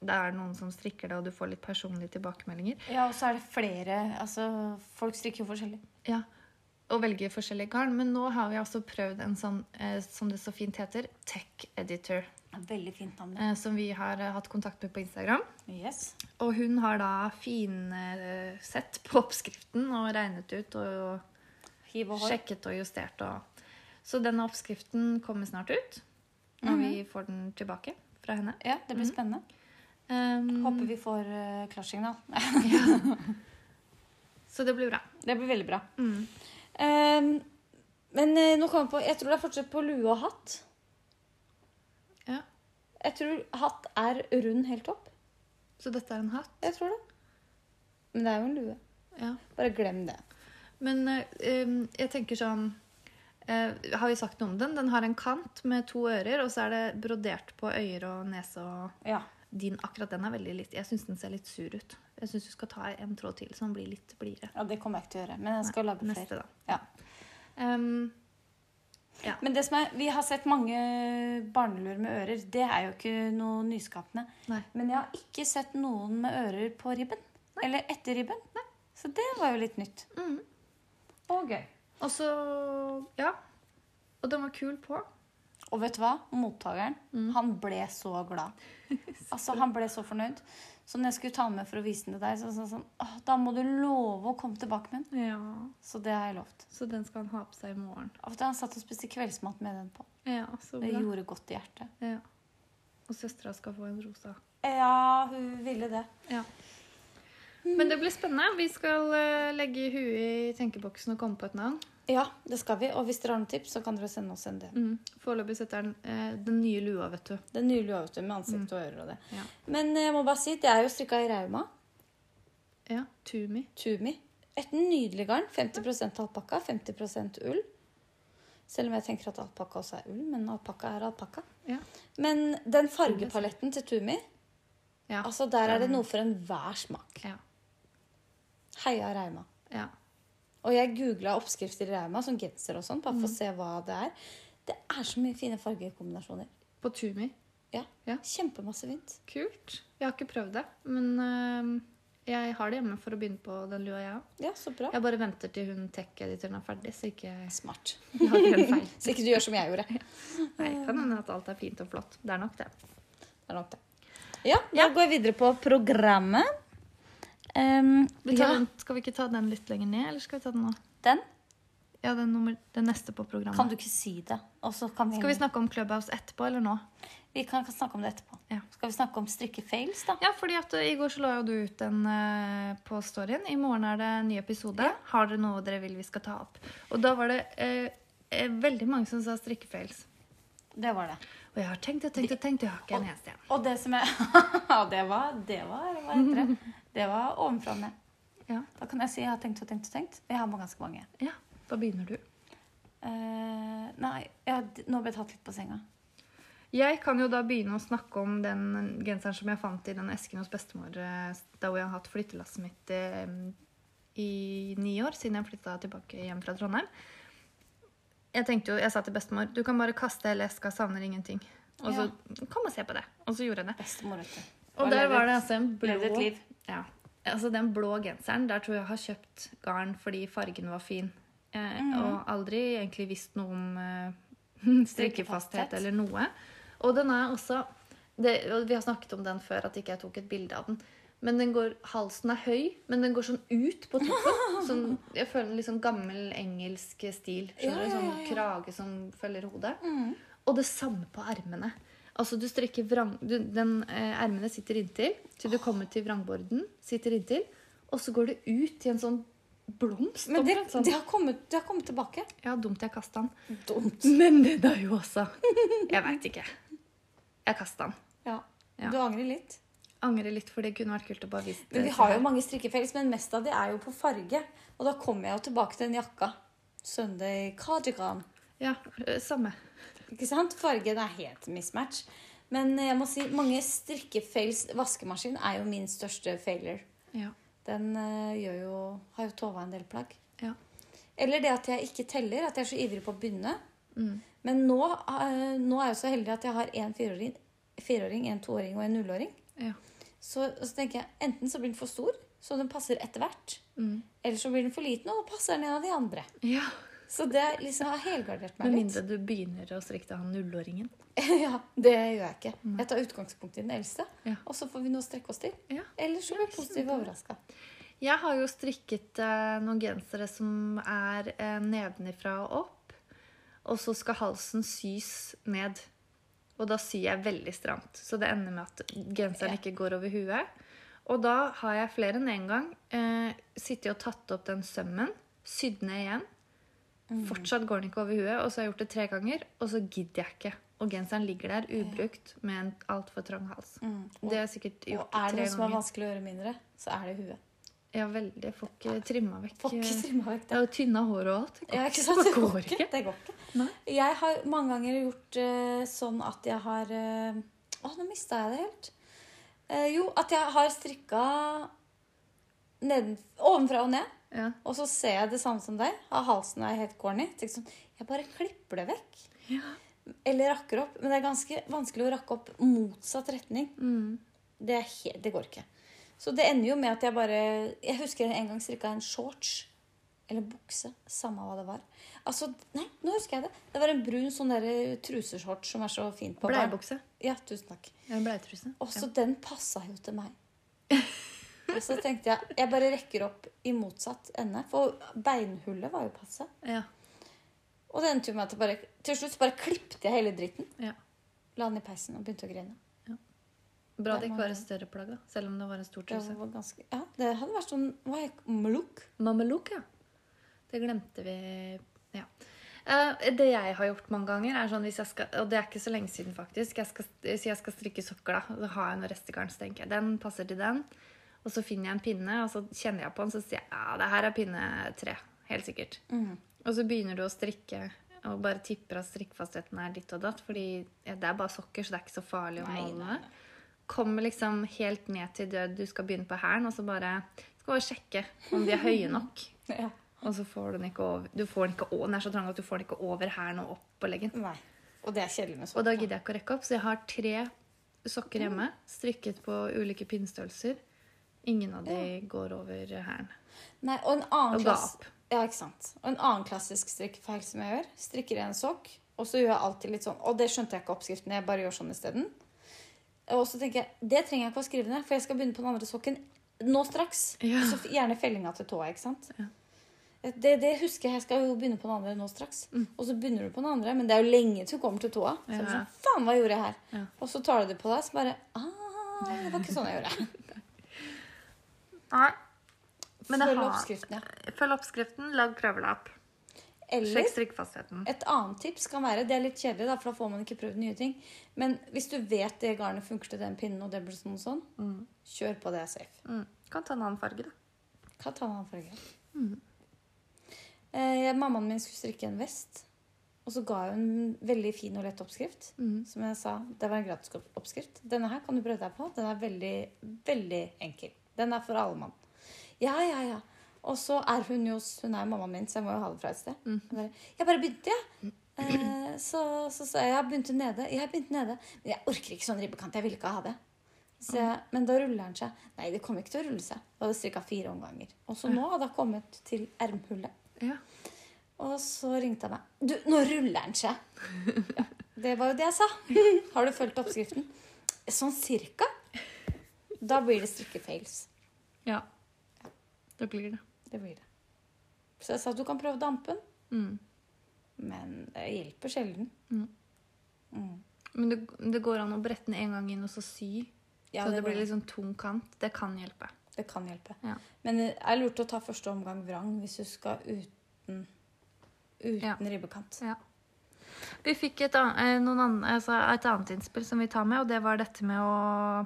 S2: Det er noen som strikker det, og du får litt personlige tilbakemeldinger.
S1: Ja, og så er det flere Altså, folk strikker jo forskjellig.
S2: Ja, Og velge forskjellige garn. Men nå har vi altså prøvd en sånn, eh, som det så fint heter, tech editor.
S1: Veldig fint navn.
S2: eh, som vi har eh, hatt kontakt med på Instagram.
S1: Yes.
S2: Og hun har da finsett på oppskriften og regnet ut og
S1: Hiv og hoi.
S2: sjekket og
S1: Mhm.
S2: justert. Og. Så denne oppskriften kommer snart ut når vi får den tilbake fra henne.
S1: Ja, det blir spennende.
S2: Um,
S1: Håper vi får eh, klarsignal.
S2: Så det blir bra.
S1: Det blir veldig bra.
S2: Mm.
S1: Ehm, men eh, nå kommer jeg på Jeg tror det er fortsatt på lue og hatt.
S2: Ja.
S1: Jeg tror hatt er rund helt opp.
S2: Så dette er en hatt.
S1: Jeg tror det. Men det er jo en lue.
S2: Ja.
S1: Bare glem det.
S2: Men eh, um, jeg tenker sånn eh, Har vi sagt noe om den? Den har en kant med to ører, og så er det brodert på øyer og nese og
S1: Ja.
S2: din, akkurat den er veldig litt Jeg syns den ser litt sur ut. Jeg syns du skal ta en tråd til, så den blir litt blidere.
S1: Det kommer jeg ikke til å gjøre. Men jeg skal lage flere.
S2: Neste, da.
S1: Ja.
S2: Um,
S1: Men det som er, vi har sett mange barneluer med ører. Det er jo ikke noe nyskapende.
S2: Nei.
S1: Men jeg har ikke sett noen med ører på ribben. Eller etter ribben. Så det var jo litt nytt.
S2: mm.
S1: Og gøy.
S2: Og så Ja. Og den var kul på.
S1: Og vet du hva? Mottakeren
S2: Mm.
S1: han ble så glad. Altså, Han ble så fornøyd. Så når jeg skulle ta den med for å vise den til deg, så sa han sånn Åh, Da må du love å komme tilbake med den.
S2: Ja.
S1: Så det har jeg lovt.
S2: Så den skal han ha på seg i morgen.
S1: Og da han satt og spiste kveldsmat med den på.
S2: Ja, så
S1: Det
S2: bra.
S1: gjorde godt i hjertet.
S2: Ja. Og søstera skal få en rosa.
S1: Ja, hun ville det.
S2: Ja. Men det blir spennende. Vi skal eh, legge huet i tenkeboksen og komme på et navn.
S1: Ja, det skal vi. Og hvis dere har noen tips, så kan dere sende oss en del.
S2: Mm. Foreløpig setter den eh, den nye lua, vet du.
S1: Det er nylig avgjort med ansikt og ører og det.
S2: Mm. Ja.
S1: Men eh, jeg må bare si, det er jo strikka i Rauma.
S2: Ja, Tumi.
S1: Tumi. Et nydelig garn. 50 alpakka, 50 ull. Selv om jeg tenker at alpakka også er ull, men alpakka er alpakka.
S2: Ja.
S1: Men den fargepaletten til Tumi,
S2: Ja.
S1: altså der er det noe for enhver smak.
S2: Ja.
S1: Heia Rauma.
S2: ja.
S1: Og jeg googla oppskrifter i Rauma, som genser og sånn, bare for å se hva det er. Det er så mye fine fargekombinasjoner.
S2: På Tumi.
S1: Ja.
S2: Ja.
S1: Kjempemasse fint.
S2: Kult. Jeg har ikke prøvd det, men eh, jeg har det hjemme for å begynne på den lua, jeg òg.
S1: Ja, så bra.
S2: Jeg bare venter til hun tech-editoren er ferdig, så ikke jeg
S1: Smart.
S2: lager en feil.
S1: Så ikke du gjør som jeg gjorde.
S2: Nei, kan hende at alt er fint og flott. Det er nok det.
S1: Det er nok det. Ja, da går jeg videre på programmet. Ehm,
S2: Vi tar
S1: ja,
S2: den, skal vi ikke ta den litt lenger ned, eller skal vi ta den nå?
S1: den
S2: Ja, den, nummer, den neste på programmet.
S1: kan du ikke si det. Og så kan vi,
S2: Skal vi snakke om Clubhouse etterpå, eller nå?
S1: vi kan, kan snakke om det etterpå.
S2: Ja.
S1: Skal vi snakke om strikkefails, da?
S2: Ja, fordi at eh, I går så la jo du ut den eh, på storyen. I morgen er det en ny episode. Har dere noe dere vil vi skal ta opp? Og da var det eh, eh, veldig mange som sa strikkefails.
S1: Det var det.
S2: Og jeg har tenkt og tenkt og tenkt, og jeg har ikke en eneste igjen.
S1: Og det som jeg Ja, det var Det var, hva heter det? Det var ovenfra og ned.
S2: Ja.
S1: Da kan jeg si jeg har tenkt og tenkt og tenkt. Jeg har ganske mange.
S2: ja, Da begynner du.
S1: Eh, nei, ja, d- nå ble jeg tatt litt på senga.
S2: Jeg kan jo da begynne å snakke om den genseren som jeg fant i den esken hos bestemor eh, da hvor jeg har hatt flyttelasset mitt eh, i ni år, siden jeg flytta tilbake hjem fra Trondheim. Jeg tenkte jo, jeg sa til bestemor du kan bare kaste hele eska, savner ingenting. Og så kom og se på det. Og så gjorde jeg det.
S1: Bestemor, vet du.
S2: Og der var det altså en blå
S1: levde et liv.
S2: Ja. Altså den blå genseren, der tror jeg jeg har kjøpt garn fordi fargen var fin. Eh,
S1: Mhm.
S2: Og aldri egentlig visst noe om eh,
S1: Strikkefasthet.
S2: strikkefasthet eller noe. Og den er også det, og Vi har snakket om den før, at ikke jeg tok et bilde av den. Men den går, Halsen er høy, men den går sånn ut på toppen. Sånn, jeg føler en litt sånn gammel engelsk stil.
S1: Ja,
S2: Skjønner du?
S1: ja,
S2: Sånn
S1: ja, ja.
S2: krage som følger hodet.
S1: Mm.
S2: Og det samme på ermene. Altså, du strekker vrang... Du, den eh, ermene sitter inntil, til du kommer til vrangborden, sitter inntil, og så går det ut i en sånn blomst.
S1: Men det,
S2: omtrent sånn.
S1: det, har kommet, det har kommet tilbake.
S2: Ja, dumt jeg kasta den.
S1: Dumt.
S2: Men den er jo også Jeg veit ikke. Jeg kasta den.
S1: Ja.
S2: Ja.
S1: Du angrer litt?
S2: Angrer litt, for det kunne vært kult å bare vise
S1: Men vi
S2: til
S1: har jo
S2: her.
S1: mange strikkefelles, men mest av de er jo på farge. Og da kommer jeg jo tilbake til den jakka. Sunday cardigan.
S2: Ja, eh, samme.
S1: Ikke sant? Fargen er helt mismatch. Men eh, jeg må si, mange strikkefeils vaskemaskin er jo min største failure.
S2: Ja.
S1: Den eh, gjør jo, har jo tova en del plagg.
S2: ja.
S1: Eller det at jeg ikke teller, at jeg er så ivrig på å begynne.
S2: Mm,
S1: Men nå, eh, nå er jeg jo så heldig at jeg har en fireåring, fireåring en toåring og en nullåring.
S2: ja.
S1: Så, og så tenker jeg, enten så blir den for stor, så den passer etter hvert.
S2: Mm.
S1: Eller så blir den for liten, og da passer den en av de andre.
S2: ja.
S1: Så det liksom har helgardert meg
S2: Med
S1: litt.
S2: mindre du begynner å strikke til han nullåringen.
S1: ja, det gjør jeg ikke. Jeg tar utgangspunkt i den eldste,
S2: Mm. Ja.
S1: og så får vi noe å strekke oss til.
S2: Ja.
S1: Eller så blir jeg positivt overraska.
S2: Jeg har jo strikket eh, noen gensere som er eh, nedenifra og opp. Og så skal halsen sys ned. Og da syr jeg veldig stramt. Så det ender med at genseren
S1: Ja.
S2: ikke går over huet. Og da har jeg flere enn én en gang eh, sittet og tatt opp den sømmen, sydd ned igjen.
S1: Mm.
S2: Fortsatt går den ikke over huet, og så har jeg gjort det tre ganger, og så gidder jeg ikke. Og genseren ligger der ubrukt med en altfor trang hals.
S1: Og-
S2: Det har jeg sikkert
S1: Mm. Og
S2: gjort
S1: er det
S2: tre
S1: noe som er
S2: ganger.
S1: vanskelig å gjøre mindre, så er det huet.
S2: Ja, veldig. Jeg får ikke trimma vekk
S1: Får ikke
S2: eh,
S1: strimma vekk
S2: Jeg
S1: det.
S2: har jo tynna hår og alt. Det går,
S1: Ja, ikke sant?
S2: det går ikke.
S1: Det går ikke.
S2: Nei.
S1: Jeg har mange ganger gjort eh, sånn at jeg har eh, Å, nå mista jeg det helt. Eh, jo, at jeg har strikka neden, ovenfra og ned.
S2: Ja.
S1: Og så ser jeg det samme som deg. Av halsen er helt corny. Tenk sånn, jeg bare klipper det vekk. Eller rakker opp. Men det er ganske vanskelig å rakke opp motsatt retning.
S2: mm.
S1: Det, er he det går ikke. Så det ender jo med at jeg bare Jeg husker en gang strikka en shorts. Eller en bukse. Samme hva det var. Altså, nei, nå husker jeg det. Det var en brun sånn der truseshorts som er så fin på barn.
S2: Bleiebukse.
S1: Ja, tusen takk.
S2: Eller bleietruse.
S1: Og så den passa jo til meg. Og så tenkte jeg jeg bare rekker opp i motsatt ende. For beinhullet var jo passe.
S2: Ja.
S1: Og det endte jo med at jeg bare, til slutt så bare klippte jeg hele dritten.
S2: Ja.
S1: La den i peisen og begynte å grine.
S2: Bra
S1: Det
S2: det ikke
S1: må-
S2: var et større plagg, da. Selv om det var en stor
S1: Det,
S2: truse.
S1: var ganske, ja, det hadde vært sånn hva er det, Mluk?
S2: Mamelukke. ja. Det glemte vi Ja. Eh, Det jeg har gjort mange ganger, er sånn hvis jeg skal Og det er ikke så lenge siden, faktisk. Jeg skal, hvis jeg skal strikke sokker, da, og så har jeg noe restegarn, så tenker jeg den passer til den. Og så finner jeg en pinne, og så kjenner jeg på den, så sier jeg ja, det her er pinne tre. Helt sikkert. Og så begynner du å strikke og bare tipper at strikkfastheten er ditt og datt, fordi ja, det er bare sokker, så det er ikke så farlig å
S1: Nei,
S2: måle
S1: nei,
S2: med. Kommer liksom helt ned til død, du skal begynne på hælen, og så bare skal bare sjekke om de er høye nok.
S1: Ja.
S2: Og så får du den ikke over du får den ikke over, Den er så trang at du får den ikke over hælen og opp på leggen.
S1: Nei. Og det er kjedelig med
S2: Og
S1: sånt.
S2: da gidder jeg ikke å rekke opp, så jeg har tre sokker hjemme, strikket på ulike pinnstørrelser. Ingen av de går over hælen.
S1: Nei, og en annen
S2: Og
S1: klass-
S2: gap.
S1: Ja, ikke sant. Og en annen klassisk strikkefeil som jeg gjør, strikker en sokk, og så gjør jeg alltid litt sånn Og det skjønte jeg ikke oppskriften, jeg bare gjør sånn isteden. Og så tenker jeg det trenger jeg ikke å skrive ned, for jeg skal begynne på den andre sokken nå straks.
S2: Ja.
S1: Så f- gjerne fellinga til tåa, ikke sant. Det, det husker jeg. Jeg skal jo begynne på den andre nå straks. Og så begynner du på den andre, men det er jo lenge til du kommer til tåa. Så er det
S2: Mm. Ja.
S1: sånn, faen, hva gjorde jeg her?
S2: Ja.
S1: Og så tar du det på deg, så bare ah, det var ikke sånn jeg gjorde.
S2: Nei. Men det
S1: Følg
S2: har-
S1: oppskriften, ja.
S2: Følg oppskriften, lag prøvelapp.
S1: Eller
S2: Sjekk strikkfastheten.
S1: Et annet tips kan være, det er litt kjedelig, da, for da får man ikke prøvd nye ting. Men hvis du vet det garnet funker til den pinnen, og det blir sånn og sånn, kjør på det er safe.
S2: Mm. Kan ta en annen farge, da.
S1: Hva tar man for grep? Eh, mammaen min skulle strikke en vest, og så ga hun en veldig fin og lett oppskrift.
S2: Mm.
S1: Som jeg sa, det var en gratis opp- oppskrift. Denne her kan du prøve deg på. Den er veldig, veldig enkel. Den er for alle mann. Ja, ja, ja. Og så er hun jo Hun er jo mammaen min, så jeg må jo ha det fra et sted. Jeg, bare, jeg bare begynte, jeg. Eh, så så sa jeg jeg begynte nede. Jeg begynte nede. Men jeg orker ikke sånn ribbekant. Jeg ville ikke ha det. Så jeg, men da ruller den seg. Nei, det kommer ikke til å rulle seg. Da hadde jeg strikka fire omganger. Og så nå hadde jeg kommet til ermhullet.
S2: Ja.
S1: Og så ringte jeg meg. Du, nå ruller den seg! Ja, det var jo det jeg sa. Har du fulgt oppskriften? Sånn cirka. Da blir det strikkefeils.
S2: ja. Det blir det.
S1: Det blir det. Så jeg sa at du kan prøve dampen,
S2: Mm.
S1: men det hjelper sjelden.
S2: Men det, det går an å brette den en gang inn og så sy.
S1: Ja,
S2: så
S1: det liksom-
S2: det,
S1: går
S2: blir
S1: an.
S2: litt sånn tung kant. Det kan hjelpe.
S1: Det kan hjelpe.
S2: Ja.
S1: Men det er lurt å ta første omgang vrang hvis du skal uten, uten
S2: Ja.
S1: ribbekant.
S2: Vi fikk et, an- eh, noen an- altså et annet innspill som vi tar med, og det var dette med å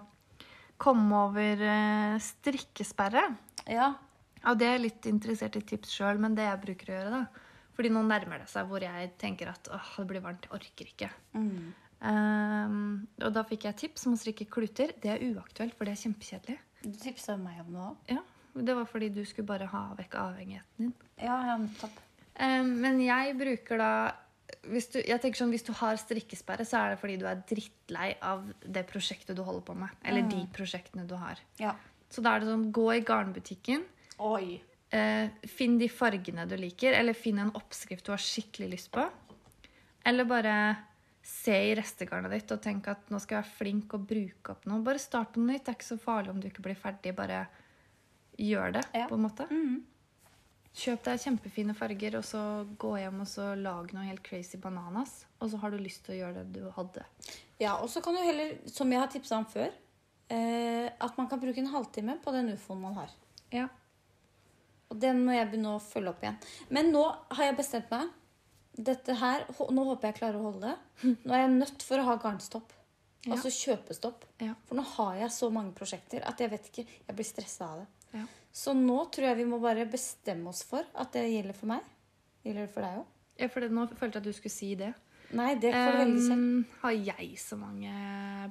S2: komme over eh, strikkesperre.
S1: Ja,
S2: Ja, det er jeg litt interessert i tips sjøl, men det jeg bruker å gjøre, da. Fordi nå nærmer det seg hvor jeg tenker at åh, det blir varmt, jeg orker ikke.
S1: Mm.
S2: Ehm, og da fikk jeg tips om å strikke kluter. Det er uaktuelt, for det er kjempekjedelig.
S1: Du tipsa meg om noe.
S2: Ja, Det var fordi du skulle bare ha vekk avhengigheten din.
S1: Ja, ja, nettopp.
S2: Ehm, men jeg bruker da hvis du, jeg tenker sånn, hvis du har strikkesperre, så er det fordi du er drittlei av det prosjektet du holder på med. Eller de prosjektene du har.
S1: Ja.
S2: Så da er det sånn, gå i garnbutikken.
S1: Oi.
S2: Eh, finn de fargene du liker, eller finn en oppskrift du har skikkelig lyst på. Eller bare se i restegarnet ditt og tenk at nå skal jeg være flink og bruke opp noe. Bare start på noe nytt. Det er ikke så farlig om du ikke blir ferdig. Bare gjør det,
S1: Ja.
S2: på en måte. Kjøp deg kjempefine farger, og så gå hjem og så lag noe helt crazy bananas. Og så har du lyst til å gjøre det du hadde.
S1: Ja, og så kan du heller, som jeg har tipsa om før, eh, at man kan bruke en halvtime på den ufoen man har.
S2: Ja.
S1: Og den må jeg begynne å følge opp igjen. Men nå har jeg bestemt meg. Dette her, hå- Nå håper jeg klarer å holde det. Nå er jeg nødt for å ha garnstopp.
S2: Ja.
S1: Altså kjøpestopp.
S2: Ja.
S1: For nå har jeg så mange prosjekter at jeg vet ikke, jeg blir stressa av det.
S2: Ja.
S1: Så nå tror jeg vi må bare bestemme oss for at det gjelder for meg. Gjelder det for deg òg?
S2: ja for det, nå følte jeg at du skulle si det.
S1: Nei, det får du velge selv.
S2: Um, har jeg så mange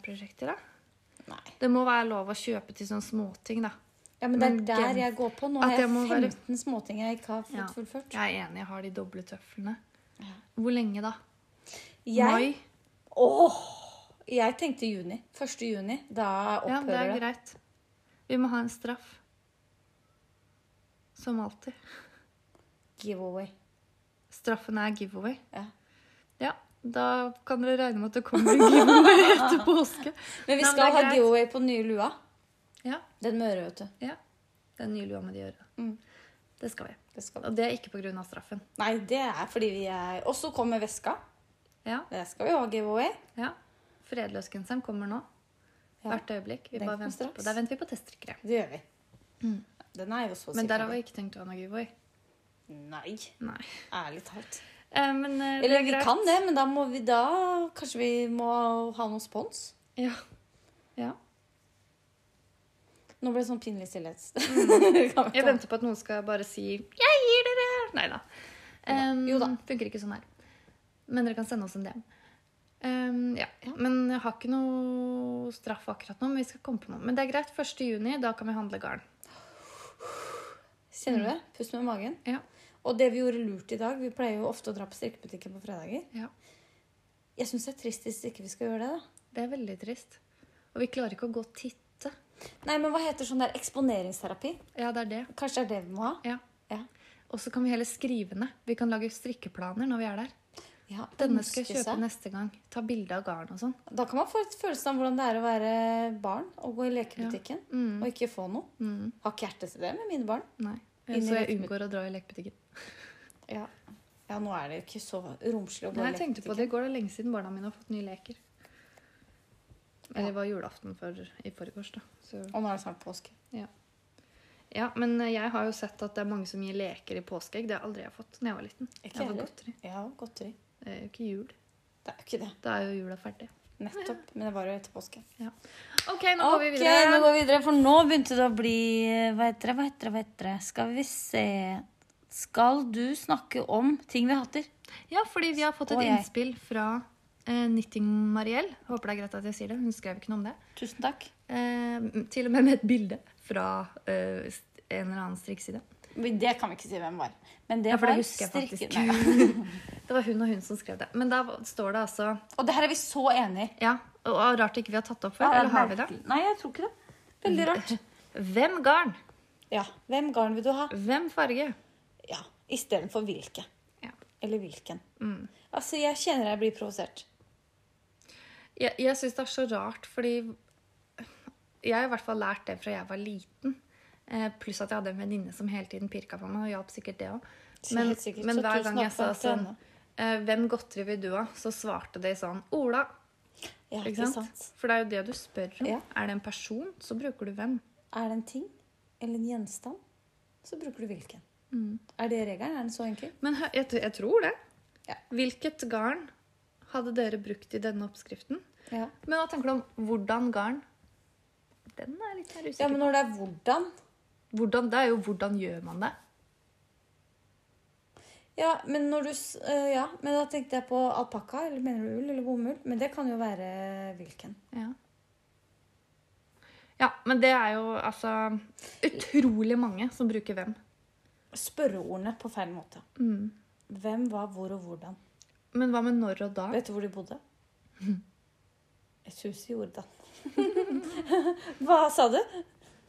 S2: prosjekter, da?
S1: Nei.
S2: Det må være lov å kjøpe til sånne småting, da.
S1: Ja, men det er
S2: men
S1: der
S2: gen-
S1: jeg går på. Nå
S2: at
S1: har jeg
S2: jeg må være-
S1: 15 småting jeg ikke har fått
S2: Ja.
S1: fullført.
S2: Jeg er enig, jeg har de doble tøflene.
S1: Ja.
S2: Hvor lenge, da?
S1: Jeg,
S2: Mai?
S1: åh, jeg tenkte juni. 1. juni. Da
S2: Ja, det
S1: opphører
S2: er
S1: det.
S2: greit. Vi må ha en straff. Som alltid.
S1: Giveaway.
S2: Straffen er giveaway.
S1: Ja.
S2: Ja, da kan dere regne med at det kommer en giveaway etter påske.
S1: Men vi
S2: Nei, men
S1: skal
S2: det er
S1: ha
S2: greit.
S1: giveaway på den nye lua.
S2: Ja,
S1: Den møre, vet du.
S2: ja. Den nye lua med de ørene.
S1: Mm.
S2: Det skal vi.
S1: Det skal vi.
S2: Og det er ikke pga. straffen.
S1: Nei, det er fordi vi er Og så kommer veska.
S2: Ja,
S1: Der skal vi ha giveaway.
S2: ja. Fredløsgenseren kommer nå.
S1: Ja.
S2: Hvert øyeblikk. Vi
S1: Den
S2: bare
S1: kommer
S2: venter
S1: straks.
S2: på. Der venter vi på teststrikkere.
S1: Det gjør vi. Den er jo så
S2: Mm. Men der har
S1: sikker.
S2: vi ikke tenkt å ha noe giveaway.
S1: Nei.
S2: Nei.
S1: Ærlig talt.
S2: Eh, men eh, det
S1: Eller
S2: er
S1: vi
S2: greit.
S1: kan det, men da må vi da Kanskje vi må ha noe spons?
S2: Ja. ja.
S1: Nå ble det sånn pinlig stillhet.
S2: Mm. Jeg venter på at noen skal bare si 'Jeg gir dere!' Nei da. Um,
S1: Jo da.
S2: Funker ikke sånn her. Men dere kan sende oss en DM. Um, ja. Men jeg har ikke noe straff akkurat nå, men vi skal komme på noe. Men det er greit. 1. juni, da kan vi handle garn.
S1: Kjenner du det? Pust med magen.
S2: Mm. Ja.
S1: Og det vi gjorde lurt i dag Vi pleier jo ofte å dra på strikkebutikken på fredager.
S2: ja.
S1: Jeg syns det er trist hvis ikke vi skal gjøre det. da
S2: Det er veldig trist. Og vi klarer ikke å gå og titte.
S1: Nei, men hva heter sånn der eksponeringsterapi?
S2: Ja, det er det.
S1: Kanskje det er det vi må ha?
S2: Ja.
S1: Ja.
S2: Og så kan vi heller skrive ned. Vi kan lage strikkeplaner når vi er der.
S1: Ja,
S2: Denne
S1: ønske
S2: skal jeg kjøpe
S1: seg.
S2: neste gang. Ta bilde av garn og sånn.
S1: Da kan man få et følelse av hvordan det er å være barn og gå i lekebutikken
S2: Mm.
S1: og ikke få noe.
S2: Mm.
S1: Har ikke hjerte til det med mine barn.
S2: Nei.
S1: Inni
S2: Så jeg
S1: lekebutikken.
S2: unngår å dra i lekebutikken.
S1: Ja, ja nå er det jo ikke så romslig å gå
S2: Nei,
S1: i
S2: jeg tenkte på det. i Går det lenge siden barna mine har fått nye leker? Eller det var julaften for, i forgårs, da. Så,
S1: Og nå er det snart påske.
S2: ja. ja, men jeg har jo sett at det er mange som gir leker i påskeegg. Det har aldri jeg fått da jeg var liten.
S1: Ikke
S2: jeg
S1: heller.
S2: var godteri.
S1: Ja, godteri.
S2: Det er jo ikke jul.
S1: Det er jo ikke det.
S2: Da er jo jula ferdig.
S1: Nettopp. Men det var jo etter påske.
S2: Ja. OK, nå går vi
S1: Ok,
S2: videre.
S1: nå går vi videre, for nå begynte det å bli Hva heter det, hva heter det, hva heter det? Skal vi se Skal du snakke om ting vi hater?
S2: Ja, fordi vi har fått et
S1: Og jeg.
S2: innspill fra eh, Knitting-Mariell. Håper det er greit at jeg sier det. Hun skrev ikke noe om det.
S1: Tusen takk.
S2: Eh, til og med med et bilde fra eh, st- en eller annen strikkside.
S1: Men Det kan vi ikke si hvem var. Men det
S2: Ja, for det
S1: var
S2: husker jeg faktisk.
S1: strikken. Nei,
S2: Det var hun og hun som skrev det. Men da var- står det altså
S1: Og det her er vi så enig i.
S2: Ja, og og rart ikke vi har tatt det opp før. eller har vi det? Mm.
S1: Nei, jeg tror ikke det. Veldig rart.
S2: Hvem garn?
S1: Ja, Hvem garn vil du ha?
S2: Hvem farge?
S1: Ja, Istedenfor hvilke.
S2: Ja.
S1: Eller hvilken.
S2: Mm.
S1: Altså, Jeg kjenner jeg blir provosert.
S2: Jeg, jeg syns det er så rart, fordi jeg har i hvert fall lært det fra jeg var liten. Eh, pluss at jeg hadde en venninne som hele tiden pirka på meg, og hjalp sikkert det òg.
S1: Så
S2: Men,
S1: helt sikkert,
S2: men
S1: så
S2: hver
S1: tusen
S2: gang jeg
S1: takk
S2: sa
S1: for at du er
S2: sånn
S1: med.
S2: eh, Hvem godteri vil du ha? Så svarte de sånn Ola.
S1: Ja,
S2: Ikke sant? For det er jo det du spør om.
S1: Ja.
S2: Er det en person, så bruker du hvem.
S1: Er det en ting eller en gjenstand, så bruker du hvilken.
S2: Mm.
S1: Er det regelen? Er den så enkel?
S2: Men hø- jeg, t- jeg tror det.
S1: Ja.
S2: Hvilket garn hadde dere brukt i denne oppskriften?
S1: Ja.
S2: Men hva tenker du om hvordan garn? Den er litt mer usikker.
S1: ja, Men når det er hvordan
S2: Hvordan, det er jo hvordan gjør man det?
S1: Ja, men når du s- øh, Ja, men da tenkte jeg på alpakka, eller mener du ull eller bomull? Men det kan jo være hvilken.
S2: Ja. ja, men det er jo altså utrolig mange som bruker hvem.
S1: Spørreordene på feil måte.
S2: Mm.
S1: Hvem, hva, hvor og hvordan?
S2: Men hva med når og da?
S1: Vet du hvor de bodde? Et hus i Jordan. Hva sa du?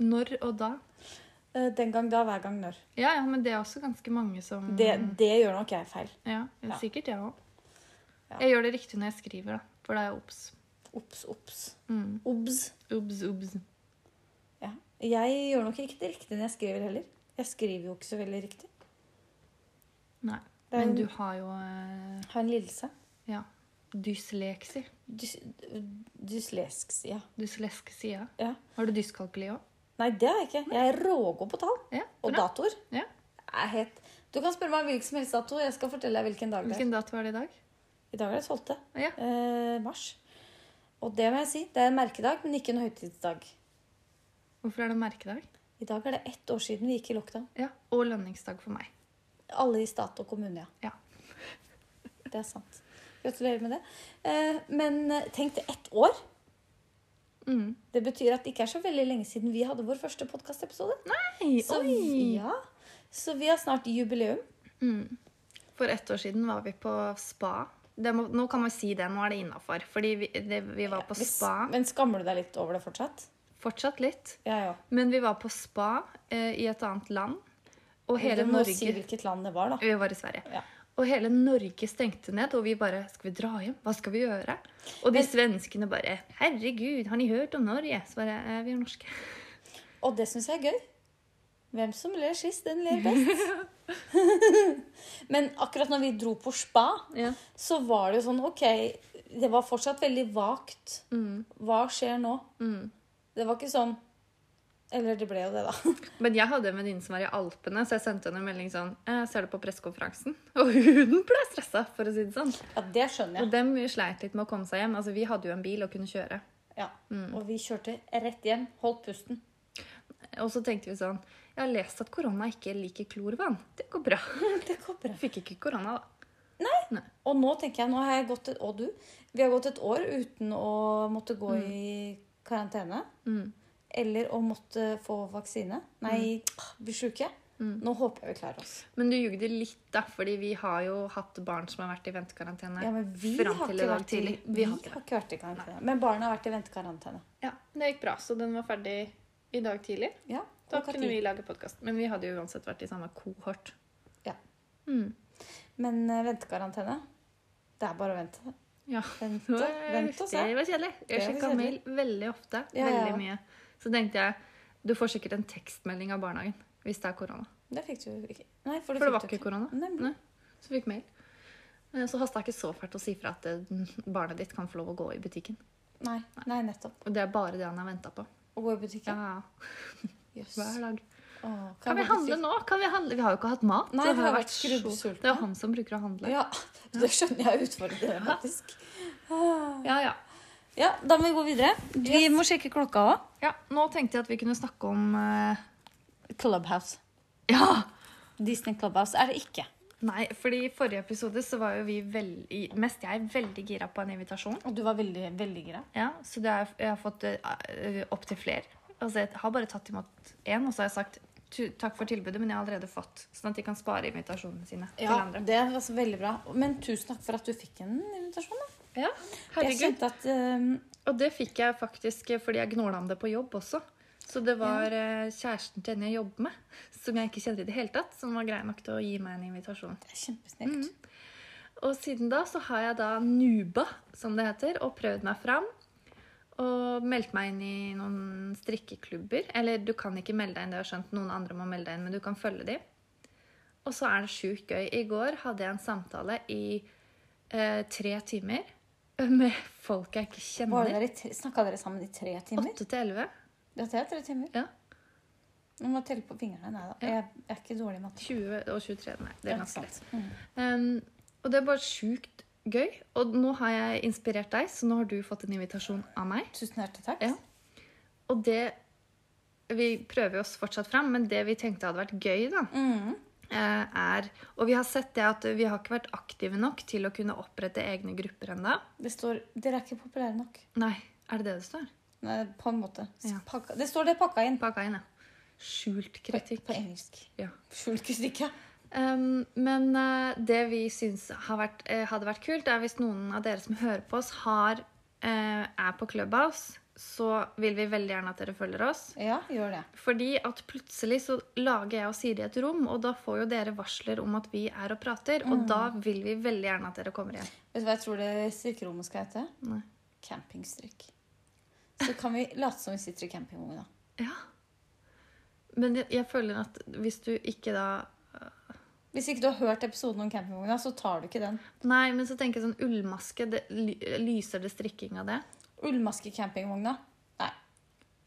S2: Når og da?
S1: Eh, Den gang da, hver gang når.
S2: Ja, ja, men det er også ganske mange som
S1: Det, det gjør nok jeg feil.
S2: Ja,
S1: Ja.
S2: sikkert jeg òg.
S1: Ja.
S2: Jeg gjør det riktig når jeg skriver, da. For da er jeg obs.
S1: Ops, ops.
S2: Mm.
S1: Obs.
S2: Obs, obs.
S1: Ja. Jeg gjør nok ikke det riktig når jeg skriver heller. Jeg skriver jo ikke så veldig riktig.
S2: Nei.
S1: Det er
S2: Men
S1: en-
S2: du har jo eh,
S1: Har en lidelse.
S2: ja, dysleksi.
S1: Dys, dyslesk, ja.
S2: Dysleske sida.
S1: ja.
S2: Har du dyskalkuli òg?
S1: Nei, det har jeg ikke. Jeg er rågod på tall.
S2: Ja,
S1: Og
S2: bra.
S1: datoer.
S2: Ja.
S1: Jeg er helt... Du kan spørre meg hvilken som helst dato. Jeg skal fortelle deg hvilken dag det er.
S2: Hvilken dato var det i dag?
S1: I dag er det 12.
S2: Ja.
S1: Eh, mars. Og det må jeg si, det er en merkedag, men ikke en høytidsdag.
S2: Hvorfor er det merkedag?
S1: I dag er det ett år siden vi gikk i lockdown.
S2: Ja. Og lønningsdag for meg.
S1: Alle i stat og kommune, ja.
S2: Ja.
S1: Det er sant. Gratulerer med det. Eh, men eh, tenk det, ett år.
S2: Mm.
S1: Det betyr at det ikke er så veldig lenge siden vi hadde vår første podkastepisode.
S2: Hei,
S1: Så,
S2: oi!
S1: vi- ja. så vi har snart jubileum.
S2: Mm. For ett år siden var vi på spa. Det må, nå kan man si det, nå er det innafor. Fordi vi, det, vi var på
S1: Hvis-
S2: spa
S1: Men skammer du deg litt over det fortsatt?
S2: fortsatt litt.
S1: Ja, ja.
S2: Men vi var på spa eh, i et annet land. Og
S1: Hele
S2: hele
S1: du må
S2: Norge Mm.
S1: si hvilket land det var, da.
S2: Vi var i Sverige.
S1: Ja.
S2: Og hele Norge stengte ned, og vi bare Skal vi dra hjem? Hva skal vi gjøre? Og de svenskene bare Herregud, har ni hørt om Norge? Så bare eh, Vi er norske.
S1: Og det syns jeg er gøy. Hvem som ler sist, den ler best. Men akkurat når vi dro på spa,
S2: Ja.
S1: så var det jo sånn OK, det var fortsatt veldig vagt.
S2: Mm.
S1: Hva skjer nå?
S2: Mm.
S1: Det var ikke sånn Eller det ble jo det, da.
S2: Men jeg hadde en venninne som var i Alpene, så jeg sendte henne en melding sånn eh, Ser du på pressekonferansen? Og hun ble stressa, for å si det sånn.
S1: Ja, det skjønner jeg.
S2: Og dem sleit litt med å komme seg hjem. Altså, vi hadde jo en bil og kunne kjøre.
S1: Ja.
S2: Mm.
S1: Og vi kjørte rett hjem. Holdt pusten.
S2: Og så tenkte vi sånn Jeg har lest at korona ikke liker klorvann. Det går bra.
S1: Det går bra.
S2: Fikk ikke korona, da.
S1: Og nå tenker jeg, nå har jeg gått et, og du, vi har gått et år uten å måtte gå i karantene.
S2: Mm.
S1: Eller å måtte få vaksine. Nei,
S2: Mm.
S1: bli sjuke. Nå håper jeg vi klarer oss.
S2: Men du jugde litt, da, fordi vi har jo hatt barn som har vært i ventekarantene.
S1: Ja, men vi
S2: fram
S1: har
S2: til i
S1: ikke
S2: dag
S1: vært i,
S2: tidlig.
S1: vi har ikke vært i karantene. Men barna har vært i ventekarantene.
S2: Ja, Det gikk bra, så den var ferdig i dag tidlig.
S1: Ja,
S2: Da
S1: klokka
S2: kunne
S1: ti.
S2: vi lage podkast. Men vi hadde jo uansett vært i samme kohort.
S1: Ja.
S2: Mm.
S1: Men eh, ventekarantene, det er bare å vente.
S2: Ja.
S1: Vente,
S2: Det var-
S1: vente og se.
S2: Det var kjedelig. Jeg
S1: Det var
S2: sjekka
S1: kjedelig.
S2: mail veldig ofte.
S1: Ja, ja, ja.
S2: Veldig mye. Så tenkte jeg du får sikkert en tekstmelding av barnehagen hvis det er korona.
S1: Det fikk du ikke. Nei, for det,
S2: For det
S1: fikk
S2: var
S1: du
S2: ikke korona.
S1: Nemlig.
S2: Nei. Så fikk mail. Eh, Så hasta jeg ikke så fælt å si fra at eh, barnet ditt kan få lov å gå i butikken.
S1: Nei. Nei, nettopp.
S2: Og det er bare det han har venta på.
S1: Å gå i butikken.
S2: Ja,
S1: Jøss.
S2: hver dag.
S1: Åh,
S2: Kan vi
S1: jeg gå i
S2: handle
S1: butikk?
S2: nå? Kan vi handle? Vi har jo ikke hatt mat.
S1: Nei,
S2: så
S1: vi
S2: det
S1: har vært
S2: så-
S1: skrubbsultne.
S2: Det er han som bruker å handle.
S1: Ja, det skjønner jeg er utfordrende, faktisk. Ah.
S2: ja. ja.
S1: Ja, da må vi gå videre. Vi må sjekke klokka òg.
S2: Ja, Nå tenkte jeg at vi kunne snakke om eh,
S1: Clubhouse.
S2: Ja!
S1: Disney Clubhouse er det ikke.
S2: Nei, fordi i forrige episode så var jo vi veldig, mest jeg, veldig gira på en invitasjon.
S1: Og du var veldig, veldig gira.
S2: Ja, så det er, jeg har fått uh, opp til flere. Altså, jeg har bare tatt imot én, og så har jeg sagt "Tu- takk for tilbudet, men jeg har allerede fått. Sånn at de kan spare invitasjonene sine til
S1: Ja,
S2: andre.
S1: det var så veldig bra. Men tusen takk for at du fikk en invitasjon. da.
S2: Ja,
S1: Jeg
S2: herregud.
S1: kjente at eh,
S2: Og det fikk jeg faktisk eh, fordi jeg gnåla om det på jobb også. Så det var eh, kjæresten til henne jeg jobber med, som jeg ikke kjente i det hele tatt, som var grei nok til å gi meg en invitasjon.
S1: det er kjempesnilt.
S2: Mm, Og siden da så har jeg da nuba, som det heter, og prøvd meg fram. Og meldt meg inn i noen strikkeklubber. Eller du kan ikke melde deg inn, det har jeg skjønt. Noen andre må melde deg inn, men du kan følge de. Og så er det sjukt gøy. I går hadde jeg en samtale i eh, tre timer med folk jeg ikke
S1: Var
S2: kjenner.
S1: dere i tre- Snakka dere sammen i tre timer?
S2: Åtte til elleve.
S1: Dette er tre timer.
S2: Ja.
S1: Nå må jeg telle på fingrene. Nei da. Jeg, jeg er ikke dårlig i matte.
S2: 20 og 23. Nei, det
S1: Ja,
S2: er
S1: ikke
S2: ganske lett.
S1: sant. Mm.
S2: Um, og det er bare sjukt gøy. Og nå har jeg inspirert deg, så nå har du fått en invitasjon av meg.
S1: Tusen hjertelig takk.
S2: Ja. Og det Vi prøver oss fortsatt fram, men det vi tenkte hadde vært gøy, da,
S1: Mm.
S2: eh, er Og vi har sett det at vi har ikke vært aktive nok til å kunne opprette egne grupper ennå.
S1: Det står Dere er ikke populære nok.
S2: Nei, er det det det står?
S1: Nei, på en måte. S-
S2: Ja.
S1: Pakka. Det står det pakka inn.
S2: Pakka inn, ja. Skjult kritikk.
S1: På engelsk.
S2: Ja.
S1: Skjult kritikk, ja.
S2: Um, men eh, det vi syns har vært, eh, hadde vært kult, er hvis noen av dere som hører på oss, har, eh, er på Clubhouse, så vil vi veldig gjerne at dere følger oss.
S1: Ja, gjør det.
S2: Fordi at plutselig så lager jeg og Siri et rom, og da får jo dere varsler om at vi er og prater, og da vil vi veldig gjerne at dere kommer igjen.
S1: Vet du hva jeg tror det strikkerommet skal hete?
S2: Nei.
S1: Campingstrikk. Så kan vi late som vi sitter i campingvogna.
S2: Ja. Men jeg, jeg føler at hvis du ikke da øh,
S1: Hvis ikke du har hørt episoden om campingvogna, så tar du ikke den.
S2: Nei, men så tenker jeg sånn ullmaske, det, ly- lyser det strikking av det?
S1: Ullmaske campingvogna. Nei.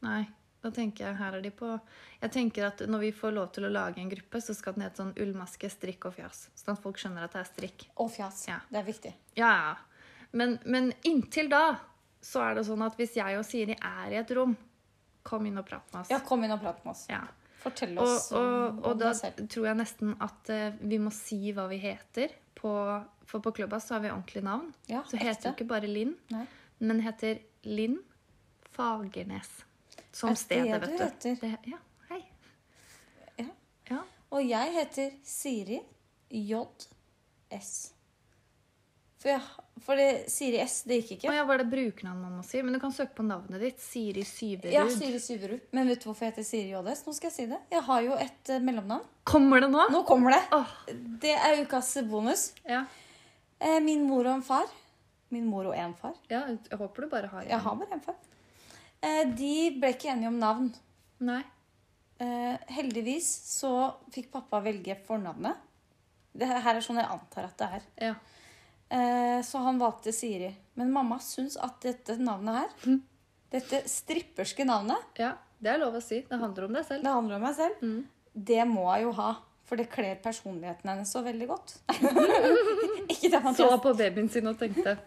S2: Nei. Da tenker jeg her er de på Jeg tenker at når vi får lov til å lage en gruppe, så skal den hete sånn ullmaske, strikk og fjas. Sånn at folk skjønner at det er strikk.
S1: Og fjas.
S2: Ja.
S1: Det er viktig.
S2: Ja, ja. Men, men inntil da så er det sånn at hvis jeg og Siri er i et rom, kom inn og prat med oss.
S1: Ja, kom inn og prat med oss.
S2: Ja.
S1: Fortell
S2: Og,
S1: oss
S2: og,
S1: om
S2: og da
S1: deg selv.
S2: tror jeg nesten at eh, vi må si hva vi heter. På, for på Clubhouse så har vi ordentlig navn.
S1: Ja,
S2: så heter jo
S1: ekte.
S2: ikke bare Linn,
S1: Nei.
S2: men heter Linn Fagernes. Som
S1: Er det
S2: stedet,
S1: det
S2: vet
S1: du
S2: du.
S1: heter?
S2: Det- ja, hei.
S1: Ja.
S2: Ja.
S1: Og jeg heter Siri JS. For, jeg, for det, Siri S, det gikk
S2: Og
S1: ikke.
S2: ja, var det brukernavn man må si? Men du kan søke på navnet ditt. Siri Syverud.
S1: Ja, Siri Syverud. Men vet du hvorfor jeg heter Siri JS? Nå skal jeg si det. Jeg har jo et eh, mellomnavn.
S2: Kommer det nå?
S1: Nå kommer det.
S2: Åh,
S1: Det er ukas bonus.
S2: ja.
S1: Eh, Min mor og en far. Min mor og en far.
S2: ja, jeg håper du bare har
S1: Jeg har bare en far. Eh, De ble ikke enige om navn.
S2: Nei.
S1: Eh, Heldigvis så fikk pappa velge fornavnet. Det her er sånn jeg antar at det er.
S2: Ja.
S1: Eh, Så han valgte Siri. Men mamma syns at dette navnet her, dette stripperske navnet,
S2: ja. Det er lov å si. Det handler om deg selv.
S1: det handler om meg selv,
S2: Mm.
S1: det må jeg jo ha. For det kler personligheten hennes så veldig godt. ikke det,
S2: Så
S1: Mathias.
S2: på babyen sin og tenkte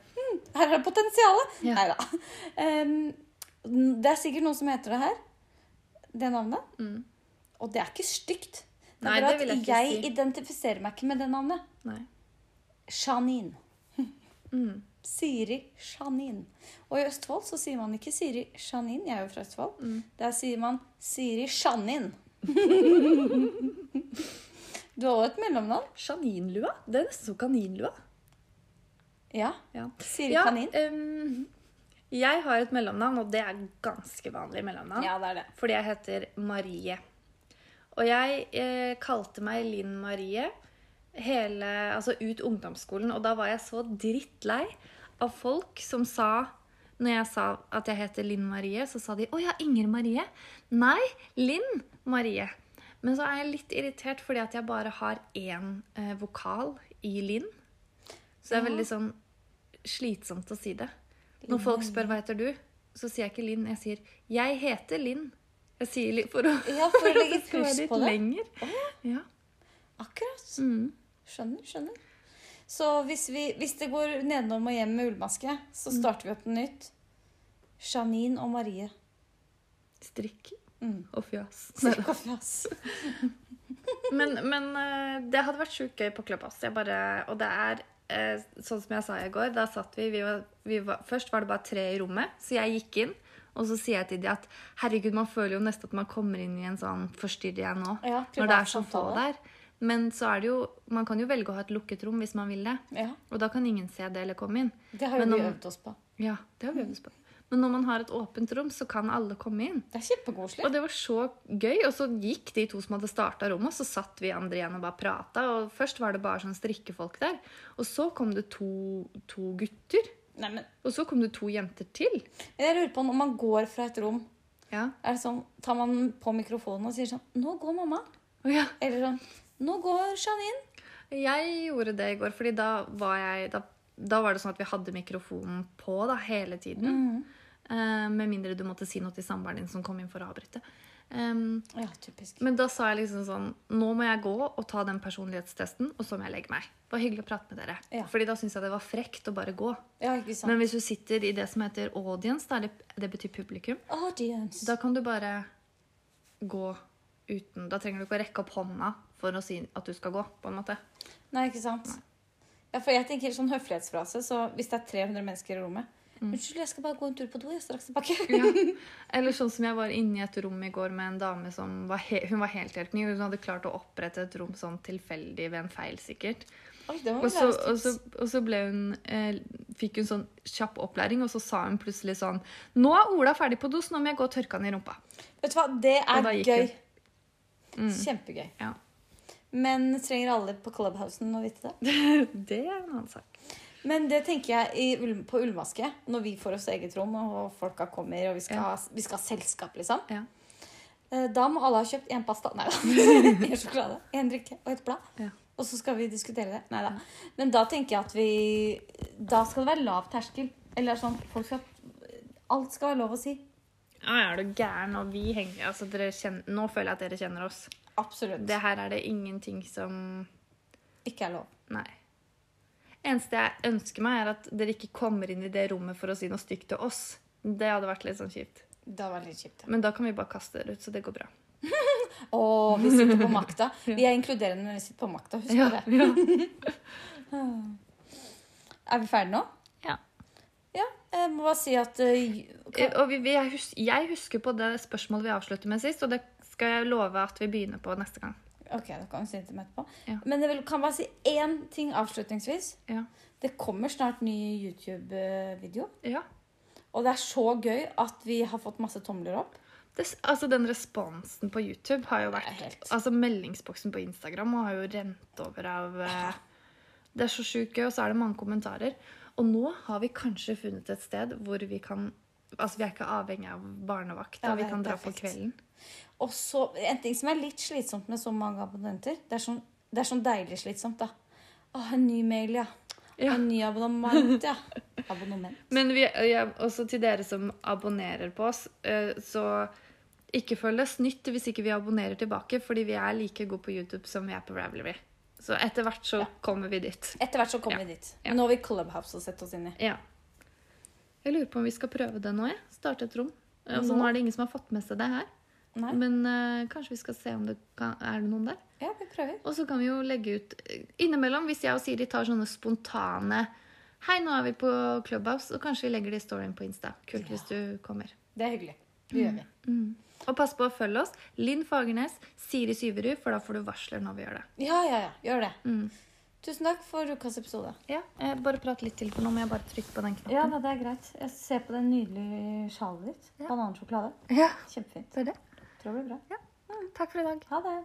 S1: Her er potensialet!
S2: Ja.
S1: Nei da. det er sikkert noen som heter det her. Det navnet.
S2: Mm.
S1: Og det er ikke stygt. Det er
S2: Nei,
S1: bare
S2: det vil jeg
S1: at
S2: ikke
S1: jeg
S2: si.
S1: identifiserer meg ikke med det navnet.
S2: Nei.
S1: Janine.
S2: Mm.
S1: Siri Janine. Og i Østfold så sier man ikke Siri Janine, jeg er jo fra Østfold.
S2: Mm.
S1: Der sier man Siri Janine. du har også et mellomnavn?
S2: Kaninlua? Det er nesten som kaninlua.
S1: Ja.
S2: Ja.
S1: Siri Kanin.
S2: ehm, jeg har et mellomnavn, og det er ganske vanlig mellomnavn.
S1: Ja, det er det.
S2: Fordi jeg heter Marie. Og jeg eh, kalte meg Linn Marie hele, altså ut ungdomsskolen, og da var jeg så drittlei av folk som sa når jeg sa at jeg heter Linn Marie, så sa de 'Å ja, Inger Marie'. Nei, Linn Marie. Men så er jeg litt irritert fordi at jeg bare har én eh, vokal i Linn. Så det er veldig sånn slitsomt å si det. Når folk spør hva heter du, så sier jeg ikke Linn, jeg sier 'jeg heter Linn'. Jeg sier litt for å,
S1: Ja, for å
S2: at
S1: legge
S2: det skal være
S1: kryss
S2: litt
S1: på det.
S2: lenger. ja.
S1: Akkurat.
S2: Mm.
S1: Skjønner, skjønner. Så hvis, vi, hvis det går nedenom og hjem med ullmaske, så
S2: Mm.
S1: starter vi opp på nytt. Janine og Marie.
S2: Strikk
S1: Mm.
S2: og fjas.
S1: Sier kaffe, ass.
S2: Men, men eh, det hadde vært sjukt gøy på Clubhouse. Jeg bare, og det er eh, sånn som jeg sa i går. Da satt vi, vi, var, vi var, Først var det bare tre i rommet, så jeg gikk inn. Og så sier jeg til de at herregud, man føler jo nesten at man kommer inn i en sånn forstyrrer jeg nå?
S1: Ja,
S2: når det er så få
S1: privat samtale.
S2: der. Men så er det jo, man kan jo velge å ha et lukket rom hvis man vil det.
S1: Ja,
S2: Og da kan ingen se det eller komme inn.
S1: det har jo
S2: Men
S1: vi
S2: om-
S1: øvd oss på.
S2: Ja, det har vi øvd oss på. Men når man har et åpent rom, så kan alle komme inn.
S1: Det er kjempekoselig.
S2: Og det var så gøy. Og så gikk de to som hadde starta rommet, og så satt vi andre igjen og bare prata. Og først var det bare sånn strikkefolk der. Og så kom det to, to gutter.
S1: Nei, men
S2: Og så kom det to jenter til.
S1: jeg lurer på når man går fra et rom,
S2: Ja.
S1: er det sånn, tar man på mikrofonen og sier sånn Nå går mamma.
S2: Og ja,
S1: Eller sånn Nå går Janine.
S2: jeg gjorde det i går, fordi da var jeg da, da var det sånn at vi hadde mikrofonen på da, hele tiden. Eh, med mindre du måtte si noe til samboeren din som kom inn for å avbryte. Um,
S1: Ja, typisk.
S2: Men da sa jeg liksom sånn Nå må jeg gå og ta den personlighetstesten, og så må jeg legge meg. Det var hyggelig å prate med dere.
S1: Ja.
S2: Fordi da syns jeg det var frekt å bare gå.
S1: Ja, ikke sant.
S2: Men hvis du sitter i det som heter audience, da, eller det betyr publikum,
S1: Audience.
S2: da kan du bare gå uten Da trenger du ikke å rekke opp hånda for å si at du skal gå, på en måte.
S1: Nei, ikke sant? Ja, for jeg tenker sånn høflighetsfrase, så hvis det er 300 mennesker i rommet
S2: Mm.
S1: Unnskyld, jeg skal bare gå en tur på do. Jeg er straks tilbake.
S2: Ja. Eller sånn som jeg var inne i et rom i går med en dame som var, he hun var helhjelpning. Hun hadde klart å opprette et rom sånn tilfeldig ved en feil, sikkert.
S1: Oi, det var
S2: Og så,
S1: jo
S2: og, så, og så ble hun eh, fikk hun sånn kjapp opplæring, og så sa hun plutselig sånn Nå er Ola ferdig på do, så nå må jeg gå og tørke han i rumpa.
S1: Vet du hva, det
S2: Og
S1: er
S2: da gikk
S1: gøy.
S2: hun. Mm.
S1: Kjempegøy.
S2: Ja.
S1: Men trenger alle på Clubhousen å vite det?
S2: Det er en annen sak.
S1: Men det tenker jeg i, ull- på Ullmaske, når vi får oss eget rom, og folka kommer, og vi skal,
S2: Ja.
S1: ha, vi skal ha selskap, liksom.
S2: Ja.
S1: Eh, Da må alle ha kjøpt én pasta Nei da. Én sjokolade, én drikke og et blad.
S2: Ja.
S1: Og så skal vi diskutere det. Nei
S2: Mm.
S1: da. Men da tenker jeg at vi Da skal det være lav terskel. Eller sånn folk skal Alt skal være lov å si.
S2: Ja, er du gæren? Og vi henger altså, dere kjenner, Nå føler jeg at dere kjenner oss.
S1: Absolutt.
S2: Det her er det ingenting som
S1: Ikke er lov.
S2: Nei. Eneste jeg ønsker meg, er at dere ikke kommer inn i det rommet for å si noe stygt til oss. Det hadde vært litt sånn kjipt.
S1: Det var litt kjipt.
S2: Men da kan vi bare kaste dere ut, så det går bra.
S1: Å, vi sitter på makta. Vi er inkluderende, men vi sitter på makta. Husk
S2: Ja,
S1: det.
S2: ja.
S1: Er vi ferdige nå?
S2: Ah. Ja.
S1: Ja. Jeg må bare si at eh,
S2: Eh, Og vi, vi, jeg, hus jeg husker på det spørsmålet vi avslutter med sist, og det skal jeg love at vi begynner på neste gang.
S1: Ok, da kan vi si det til meg etterpå.
S2: Ja.
S1: Men jeg vil, kan bare si én ting avslutningsvis.
S2: Ja.
S1: Det kommer snart ny YouTube-video.
S2: ja.
S1: Og det er så gøy at vi har fått masse tomler opp.
S2: Det, s- altså, den responsen på YouTube har jo vært
S1: helt-
S2: Altså, meldingsboksen på Instagram har jo rent over av eh, Det er så sjukt gøy, og så er det mange kommentarer. Og nå har vi kanskje funnet et sted hvor vi kan Altså, vi er ikke avhengig av barnevakt.
S1: Ja,
S2: Da. Vi
S1: det er
S2: kan dra på
S1: perfekt.
S2: kvelden.
S1: Og så, En ting som er litt slitsomt med så mange abonnenter Det er sånn, det er sånn deilig slitsomt, da. Åh, en ny mail, ja.
S2: Ja.
S1: En ny abonnement, ja. Abonnement.
S2: Men vi, ja, også til dere som abonnerer på oss, eh, så ikke følg det snytt hvis ikke vi abonnerer tilbake, fordi vi er like gode på YouTube som vi er på Ravelry. Så etter hvert så kommer vi dit.
S1: Etter hvert så kommer
S2: Ja.
S1: vi dit.
S2: Ja.
S1: Nå har vi Clubhouse å sette oss inn i.
S2: Ja. Jeg lurer på om vi skal prøve det nå, jeg. Starte et rom. Altså, nå er det ingen som har fått med seg det her,
S1: Nei?
S2: men eh, kanskje vi skal se om det kan, er det noen der.
S1: Ja, vi prøver.
S2: Og så kan vi jo legge ut eh, innimellom, hvis jeg og Siri tar sånne spontane Hei, nå er vi på Clubhouse, og kanskje vi legger det i storyen på Insta. Kult hvis du kommer.
S1: Det er hyggelig. Det gjør vi.
S2: Og pass på å følge oss. Linn Fagernes, Siri Syverud, for da får du varsler når vi gjør det. Mm.
S1: Ja, ja, ja. Gjør det. Tusen takk for ukas episode.
S2: Ja, eh, Bare prat litt til, for nå må jeg bare trykke på den knappen.
S1: Ja, da, det er greit. Jeg ser på den nydelige sjalen ditt. Banansjokolade.
S2: Ja,
S1: Kjempefint.
S2: det er det.
S1: Tror det blir bra.
S2: Mm, Takk for i dag.
S1: Ha det.